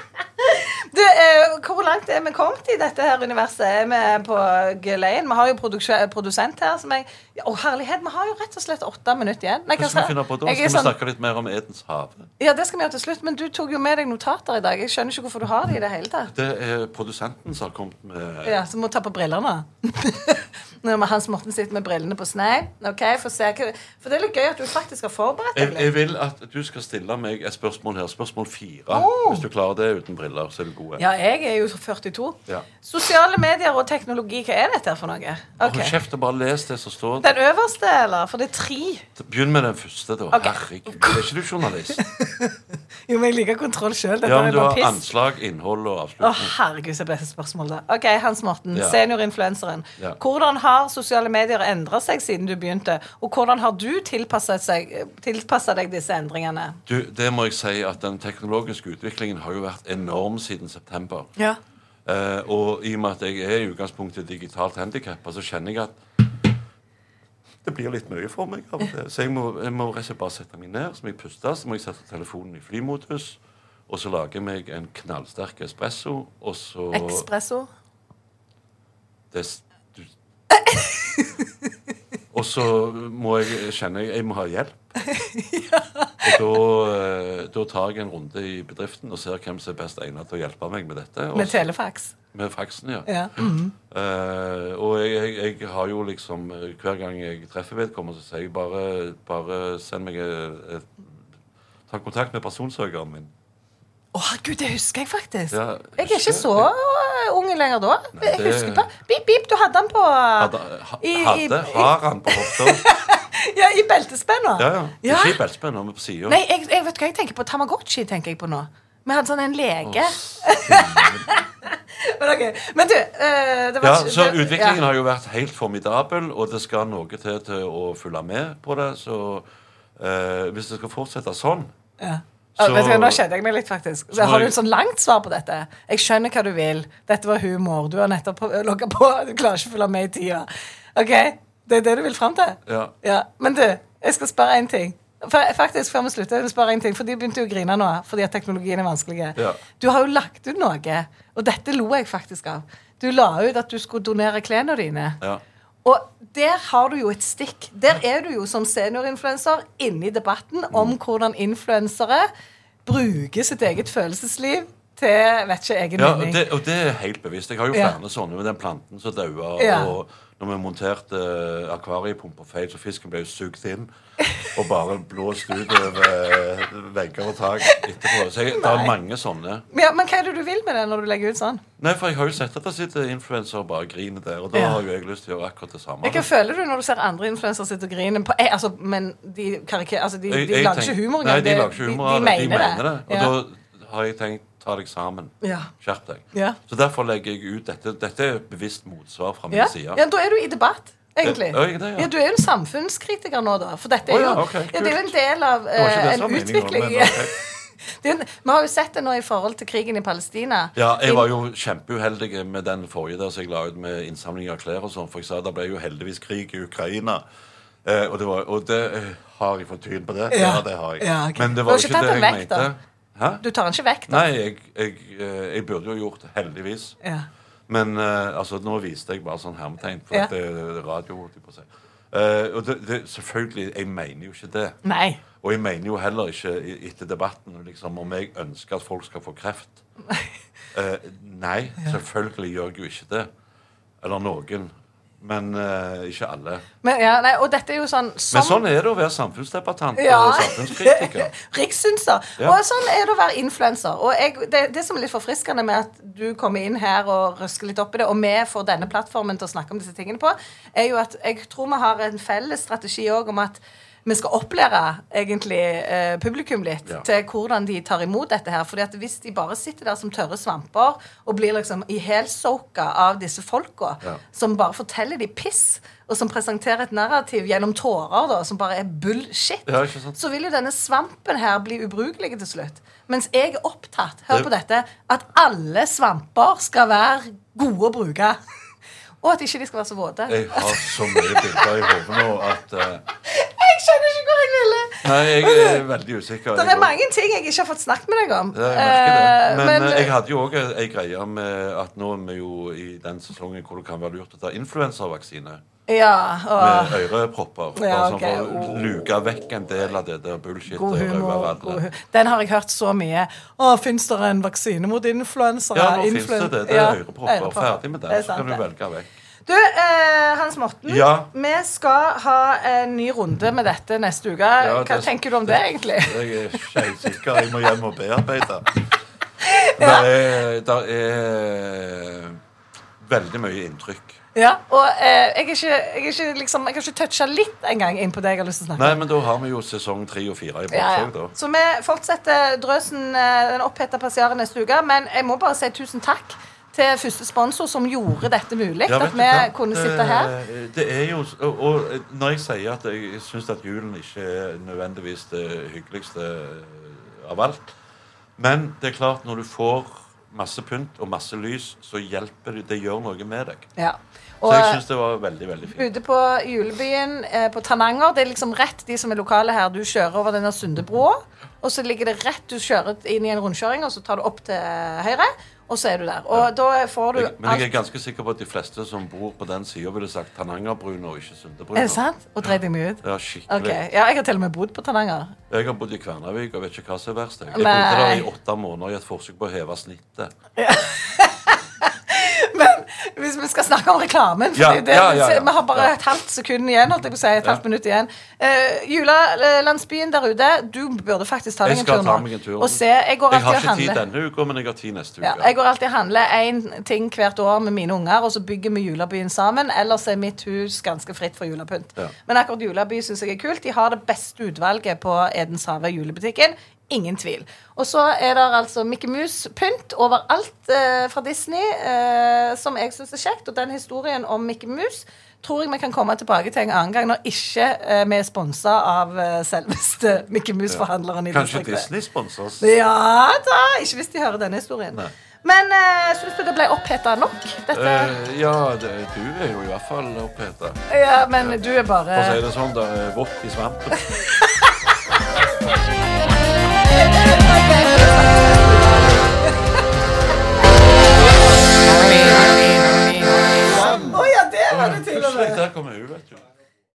[SPEAKER 1] Du, eh, hvor langt er vi kommet i dette her universet? Er vi på geleien? Vi har jo produksjon- produsent her. Som jeg, Ja, å, herlighet, vi har jo rett og slett åtte minutter igjen. Nei, hva
[SPEAKER 2] Hva skal
[SPEAKER 1] sa-
[SPEAKER 2] vi finne på da?
[SPEAKER 1] Jeg er
[SPEAKER 2] Skal vi
[SPEAKER 1] sånn-
[SPEAKER 2] snakke litt mer om Edens hav?
[SPEAKER 1] Ja, det skal vi gjøre til slutt, men du tok jo med deg notater i dag. Jeg skjønner ikke hvorfor du har det i det hele tatt.
[SPEAKER 2] Det er produsenten som har kommet med
[SPEAKER 1] Ja, Så må du ta på brillene. *laughs* Nå må Hans Morten sitte med brillene på snei. Ok, få se hva- For det er litt gøy at du faktisk har forberedt
[SPEAKER 2] jeg,
[SPEAKER 1] deg
[SPEAKER 2] jeg
[SPEAKER 1] litt.
[SPEAKER 2] vil at du skal stille meg et spørsmål her. Spørsmål fire.
[SPEAKER 1] Oh.
[SPEAKER 2] Hvis du klarer det uten briller, så er du god.
[SPEAKER 1] Ja, jeg er jo 42.
[SPEAKER 2] Ja.
[SPEAKER 1] Sosiale medier og teknologi, hva er dette her for noe?
[SPEAKER 2] Hold
[SPEAKER 1] Ok.
[SPEAKER 2] kjeft og bare les det som står.
[SPEAKER 1] Den øverste, eller? For det er tre.
[SPEAKER 2] Begynn med den første, da.
[SPEAKER 1] Ok.
[SPEAKER 2] Herregud, er ikke du *laughs* journalist?
[SPEAKER 1] Jo, men jeg liker kontroll sjøl. Dette
[SPEAKER 2] Ja,
[SPEAKER 1] er
[SPEAKER 2] men du
[SPEAKER 1] bare
[SPEAKER 2] har
[SPEAKER 1] piss.
[SPEAKER 2] anslag, innhold og
[SPEAKER 1] Å,
[SPEAKER 2] avslutning.
[SPEAKER 1] herregud, så ble det spørsmål, da. Ok, Hans Morten,
[SPEAKER 2] Ja.
[SPEAKER 1] seniorinfluenseren.
[SPEAKER 2] Ja.
[SPEAKER 1] Hvordan har sosiale medier endra seg siden du begynte? Og hvordan har du tilpassa deg disse endringene?
[SPEAKER 2] Du, det må jeg si at Den teknologiske utviklingen har jo vært enorm siden september.
[SPEAKER 1] Ja.
[SPEAKER 2] Eh, og i og med altså at jeg er i utgangspunktet digitalt handikappa, så kjenner jeg at det blir litt mye for meg. av og til. Så jeg må, jeg må rett og slett bare sette meg ned, så må jeg puste, så må jeg sette telefonen i flymodus, og så lager jeg meg en knallsterk espresso, og så
[SPEAKER 1] Ekspresso.
[SPEAKER 2] det, s- du, Og så må jeg kjenne jeg, jeg må ha hjelp. Og da, eh, da tar jeg en runde i bedriften og ser hvem som er best egnet til å hjelpe meg med dette. Og
[SPEAKER 1] Med
[SPEAKER 2] så-
[SPEAKER 1] telefax.
[SPEAKER 2] med faksen, ja.
[SPEAKER 1] Ja.
[SPEAKER 2] Eh, og jeg, jeg, jeg har jo liksom eh, Hver gang jeg treffer vedkommende, så sier jeg bare, bare send meg eh, eh, Ta kontakt med personsøkeren min.
[SPEAKER 1] Å, herregud, det husker jeg faktisk.
[SPEAKER 2] Ja,
[SPEAKER 1] jeg er ikke
[SPEAKER 2] husker-
[SPEAKER 1] så øh, ung lenger da.
[SPEAKER 2] Nei,
[SPEAKER 1] jeg
[SPEAKER 2] det-
[SPEAKER 1] husker på Bip, bip, du hadde den på
[SPEAKER 2] Hadde, ha, hadde har han på hofta?
[SPEAKER 1] i, *laughs* ja, i beltespenna.
[SPEAKER 2] Ja, ja.
[SPEAKER 1] Ja.
[SPEAKER 2] Ikke i beltespenna, men på sida.
[SPEAKER 1] Nei, jeg, jeg vet hva jeg tenker på. Tamagotchi tenker jeg på nå. Vi hadde sånn en lege. *laughs* Men, ok, men du øh, det var
[SPEAKER 2] Ja,
[SPEAKER 1] ikke-
[SPEAKER 2] så
[SPEAKER 1] det-
[SPEAKER 2] utviklingen
[SPEAKER 1] ja.
[SPEAKER 2] har jo vært helt formidabel, og det skal noe til til å følge med på det. Så eh, hvis det skal fortsette sånn
[SPEAKER 1] Ja.
[SPEAKER 2] Så-
[SPEAKER 1] Ja, vet du hva, Nå kjeder jeg meg litt, faktisk.
[SPEAKER 2] Så må
[SPEAKER 1] har du
[SPEAKER 2] jeg-
[SPEAKER 1] et sånn langt svar på dette? Jeg skjønner hva du vil. Dette var humor. Du har nettopp på- logget på. Du klarer ikke å følge med i tida. Ok, Det er det du vil fram til?
[SPEAKER 2] Ja.
[SPEAKER 1] Men du, jeg skal spørre én ting. Fa- Faktisk, før vi slutter, jeg vil spørre en ting, for de begynte jo å grine nå fordi at teknologien er vanskelig.
[SPEAKER 2] Ja.
[SPEAKER 1] Du har jo lagt ut noe, og dette lo jeg faktisk av. Du la ut at du skulle donere klærne dine.
[SPEAKER 2] Ja.
[SPEAKER 1] Og der har du jo et stikk. Der er du jo som seniorinfluenser inne i debatten om hvordan influensere bruker sitt eget følelsesliv til vet ikke, egen
[SPEAKER 2] Ja, og
[SPEAKER 1] vinning.
[SPEAKER 2] det, og det er helt bevisst. Jeg har jo
[SPEAKER 1] Ja.
[SPEAKER 2] flere sånne med den planten som daua.
[SPEAKER 1] Ja.
[SPEAKER 2] Og når vi monterte eh, akvariepumper feil, så fisken ble jo sugd inn og bare blåst ut over eh, vegger og tak etterpå. Så jeg, det er mange sånne.
[SPEAKER 1] Men Ja, men hva er det du vil med det når du legger ut sånn?
[SPEAKER 2] Nei, for jeg har jo sett at det sitter influensere og bare griner der, og da
[SPEAKER 1] Ja.
[SPEAKER 2] har jo jeg lyst til å gjøre akkurat det samme.
[SPEAKER 1] Hva føler du når du ser andre influensere sitte og grine? På, eh, altså, men de, kariker, altså, de, de
[SPEAKER 2] Jeg- jeg
[SPEAKER 1] lager
[SPEAKER 2] tenk-
[SPEAKER 1] ikke humor
[SPEAKER 2] Nei,
[SPEAKER 1] engang.
[SPEAKER 2] de lager ikke humor av
[SPEAKER 1] de,
[SPEAKER 2] det. De
[SPEAKER 1] mener det.
[SPEAKER 2] Og
[SPEAKER 1] Ja.
[SPEAKER 2] da har jeg tenkt ta deg sammen.
[SPEAKER 1] Ja.
[SPEAKER 2] Skjerp deg.
[SPEAKER 1] Ja.
[SPEAKER 2] Så derfor legger jeg ut dette. Dette er bevisst motsvar fra min
[SPEAKER 1] ja.
[SPEAKER 2] side.
[SPEAKER 1] ja, da er du i debatt, egentlig.
[SPEAKER 2] Ja, jeg er det, ja.
[SPEAKER 1] Du er jo en samfunnskritiker nå, da. For dette er
[SPEAKER 2] Å,
[SPEAKER 1] jo,
[SPEAKER 2] ja, ok,
[SPEAKER 1] ja, det er jo en
[SPEAKER 2] kult.
[SPEAKER 1] del av
[SPEAKER 2] Det var ikke
[SPEAKER 1] eh,
[SPEAKER 2] det
[SPEAKER 1] en
[SPEAKER 2] som var meningen,
[SPEAKER 1] utvikling.
[SPEAKER 2] men ok.
[SPEAKER 1] Det er jo en- Vi har jo sett det nå i forhold til krigen i Palestina.
[SPEAKER 2] Ja,
[SPEAKER 1] *laughs*
[SPEAKER 2] jeg var jo kjempeuheldig med den forrige der som jeg la ut med innsamling av klær og sånn, for jeg sa det ble jo heldigvis krig i Ukraina. Eh, og det, var, og det eh, har jeg fått tyn på det. Ja,
[SPEAKER 1] Ja.
[SPEAKER 2] det har jeg.
[SPEAKER 1] Ja, ok.
[SPEAKER 2] Men det
[SPEAKER 1] Du har
[SPEAKER 2] var
[SPEAKER 1] ikke
[SPEAKER 2] jo ikke
[SPEAKER 1] tatt
[SPEAKER 2] det
[SPEAKER 1] den
[SPEAKER 2] jeg
[SPEAKER 1] vekk,
[SPEAKER 2] mente.
[SPEAKER 1] da?
[SPEAKER 2] Hæ?
[SPEAKER 1] Du tar den ikke vekk, da?
[SPEAKER 2] Nei, jeg, jeg, eh, jeg burde jo gjort det, heldigvis.
[SPEAKER 1] Ja.
[SPEAKER 2] Men eh, altså, nå viste jeg bare sånn hermetegn, for
[SPEAKER 1] Ja.
[SPEAKER 2] at det er radio. holdt jeg på å si. Eh, og det, det, selvfølgelig, jeg mener jo ikke det.
[SPEAKER 1] Nei. *laughs*
[SPEAKER 2] Og jeg mener jo heller ikke i- etter debatten liksom, om jeg ønsker at folk skal få kreft. Eh, nei, selvfølgelig gjør jeg jo ikke det. Eller noen. Men eh, ikke alle.
[SPEAKER 1] Men, ja, nei. Og dette er jo sånn
[SPEAKER 2] Men
[SPEAKER 1] som-
[SPEAKER 2] sånn er det å være samfunnsdebattant
[SPEAKER 1] Ja.
[SPEAKER 2] og
[SPEAKER 1] *laughs*
[SPEAKER 2] samfunnskritiker.
[SPEAKER 1] Rikssynser.
[SPEAKER 2] Ja.
[SPEAKER 1] Og sånn er det å være influenser. Og jeg, det, det som er litt forfriskende med at du kommer inn her og røsker litt opp i det, og vi får denne plattformen til å snakke om disse tingene på, er jo at jeg tror vi har en felles strategi òg om at vi skal opplære egentlig eh, publikum litt
[SPEAKER 2] Ja.
[SPEAKER 1] til hvordan de tar imot dette her. fordi at hvis de bare sitter der som tørre svamper og blir liksom ihelsåka av disse folka,
[SPEAKER 2] Ja.
[SPEAKER 1] som bare forteller de piss, og som presenterer et narrativ gjennom tårer, da, som bare er bullshit,
[SPEAKER 2] Ja, ikke sant?
[SPEAKER 1] så vil jo denne svampen her bli ubrukelig til slutt. Mens jeg er opptatt hør
[SPEAKER 2] Det-
[SPEAKER 1] på dette, at alle svamper skal være gode å bruke. *laughs* Og at ikke de skal være så våte.
[SPEAKER 2] Jeg har så mye bilder i hodet nå at eh,
[SPEAKER 1] Jeg skjønner ikke hvor jeg ville!
[SPEAKER 2] Nei, jeg er veldig usikker.
[SPEAKER 1] Det
[SPEAKER 2] jeg
[SPEAKER 1] er
[SPEAKER 2] også.
[SPEAKER 1] mange ting jeg ikke har fått snakket med deg om.
[SPEAKER 2] Ja, jeg merker det.
[SPEAKER 1] Eh,
[SPEAKER 2] Men,
[SPEAKER 1] men-
[SPEAKER 2] eh, jeg hadde jo òg ei greie med at nå er vi jo i den sesongen hvor det kan være lurt å ta influensavaksine
[SPEAKER 1] eh, ja, og,
[SPEAKER 2] med øyrepropper.
[SPEAKER 1] Ah. Ja,
[SPEAKER 2] bare sånn
[SPEAKER 1] ok.
[SPEAKER 2] For å luke vekk en del av det der bullshit.
[SPEAKER 1] God
[SPEAKER 2] og røve
[SPEAKER 1] humor.
[SPEAKER 2] radler.
[SPEAKER 1] God hu Den har jeg hørt så mye. Å, fins det en vaksine mot influensere?
[SPEAKER 2] Ja, nå fins
[SPEAKER 1] Influen-
[SPEAKER 2] det det. Det er
[SPEAKER 1] Ja,
[SPEAKER 2] øyrepropper. Ferdig med
[SPEAKER 1] Det
[SPEAKER 2] det.
[SPEAKER 1] er
[SPEAKER 2] Så
[SPEAKER 1] sant,
[SPEAKER 2] kan du
[SPEAKER 1] det.
[SPEAKER 2] velge vekk.
[SPEAKER 1] Du, eh, Hans Morten,
[SPEAKER 2] Ja.
[SPEAKER 1] vi skal ha en ny runde med dette neste uke.
[SPEAKER 2] Ja,
[SPEAKER 1] Hva
[SPEAKER 2] det-
[SPEAKER 1] tenker du om det, egentlig?
[SPEAKER 2] Jeg er skeitsikker. Jeg må hjem og bearbeide.
[SPEAKER 1] *laughs*
[SPEAKER 2] Der er, der er eh, veldig mye inntrykk.
[SPEAKER 1] Ja, og eh, jeg, er ikke, jeg, er ikke, liksom, jeg har ikke toucha litt engang inn på det jeg har lyst til å snakke om.
[SPEAKER 2] Nei, men da har vi jo sesong tre og fire
[SPEAKER 1] Ja,
[SPEAKER 2] i bakslag,
[SPEAKER 1] ja.
[SPEAKER 2] da.
[SPEAKER 1] Så vi fortsetter drøsen eh, den oppheta passiaren neste uke. Men jeg må bare si tusen takk til første sponsor som gjorde dette mulig.
[SPEAKER 2] Ja, vet
[SPEAKER 1] at
[SPEAKER 2] du
[SPEAKER 1] vi
[SPEAKER 2] hva?
[SPEAKER 1] kunne sitte her.
[SPEAKER 2] Eh, Det er jo, og, og når jeg sier at jeg syns at julen ikke er eh, nødvendigvis det hyggeligste av alt Men det er klart, når du får masse pynt og masse lys, så hjelper det. Det gjør noe med deg.
[SPEAKER 1] Ja.
[SPEAKER 2] Så
[SPEAKER 1] Og eh,
[SPEAKER 2] jeg syns det var veldig, veldig fint.
[SPEAKER 1] ute på julebyen eh, på Tananger, det er liksom rett de som er lokale her, du kjører over denne Sundebroa, og så ligger det rett du kjører inn i en rundkjøring, og så tar du opp til høyre, og så er du der. Og da får du
[SPEAKER 2] Jeg, men jeg er ganske sikker på at de fleste som bor på den sida, ville sagt Tanangerbrune og ikke Sundebrune.
[SPEAKER 1] Er det sant? Og dreit deg mye ut?
[SPEAKER 2] Ja, skikkelig.
[SPEAKER 1] Ok, ja, Jeg har til og med bodd på Tananger. *laughs*
[SPEAKER 2] Jeg har bodd i Kvernavik og vet ikke hva som er verst. Jeg, jeg
[SPEAKER 1] Nei.
[SPEAKER 2] bodde der i åtte måneder i et forsøk på å heve snittet.
[SPEAKER 1] Men hvis vi skal snakke om reklamen for
[SPEAKER 2] Ja,
[SPEAKER 1] det, er det,
[SPEAKER 2] ja, ja, ja.
[SPEAKER 1] Vi har bare
[SPEAKER 2] Ja.
[SPEAKER 1] et halvt sekund igjen. Holdt jeg på å si, et halvt minutt igjen Eh, Julelandsbyen der ute, du burde faktisk ta
[SPEAKER 2] Jeg
[SPEAKER 1] deg en
[SPEAKER 2] skal
[SPEAKER 1] tur
[SPEAKER 2] ta
[SPEAKER 1] nå.
[SPEAKER 2] meg en tur.
[SPEAKER 1] Og se, jeg går
[SPEAKER 2] Jeg har
[SPEAKER 1] alltid og
[SPEAKER 2] ikke tid
[SPEAKER 1] handler
[SPEAKER 2] denne uka, men jeg har tid neste
[SPEAKER 1] ja,
[SPEAKER 2] uke.
[SPEAKER 1] jeg går alltid og handler én ting hvert år med mine unger, og så bygger vi julebyen sammen. Ellers er mitt hus ganske fritt for julepynt.
[SPEAKER 2] Ja.
[SPEAKER 1] Men akkurat juleby syns jeg er kult. De har det beste utvalget på Edenshave julebutikken. Ingen tvil. Og så er det altså Mickey Mouse-pynt overalt eh, fra Disney, eh, som jeg syns er kjekt. Og den historien om Mickey Mouse tror jeg vi kan komme tilbake til en annen gang, når ikke eh, vi er sponsa av eh, selveste Mickey Mouse-forhandleren. i
[SPEAKER 2] Kanskje
[SPEAKER 1] distriktet.
[SPEAKER 2] Disney sponser oss?
[SPEAKER 1] Ja da! Ikke hvis de hører denne historien.
[SPEAKER 2] Nei.
[SPEAKER 1] Men uh, syns du det ble oppheta nok? Dette?
[SPEAKER 2] Eh, ja, det, du er jo i hvert fall oppheta.
[SPEAKER 1] ja, men du er
[SPEAKER 2] For
[SPEAKER 1] bare
[SPEAKER 2] å si det sånn, det er vått i
[SPEAKER 1] *laughs*
[SPEAKER 2] svampen.
[SPEAKER 1] Å ja, det var det til og
[SPEAKER 2] Plutselig,
[SPEAKER 1] med!
[SPEAKER 2] der kommer hun, vet du.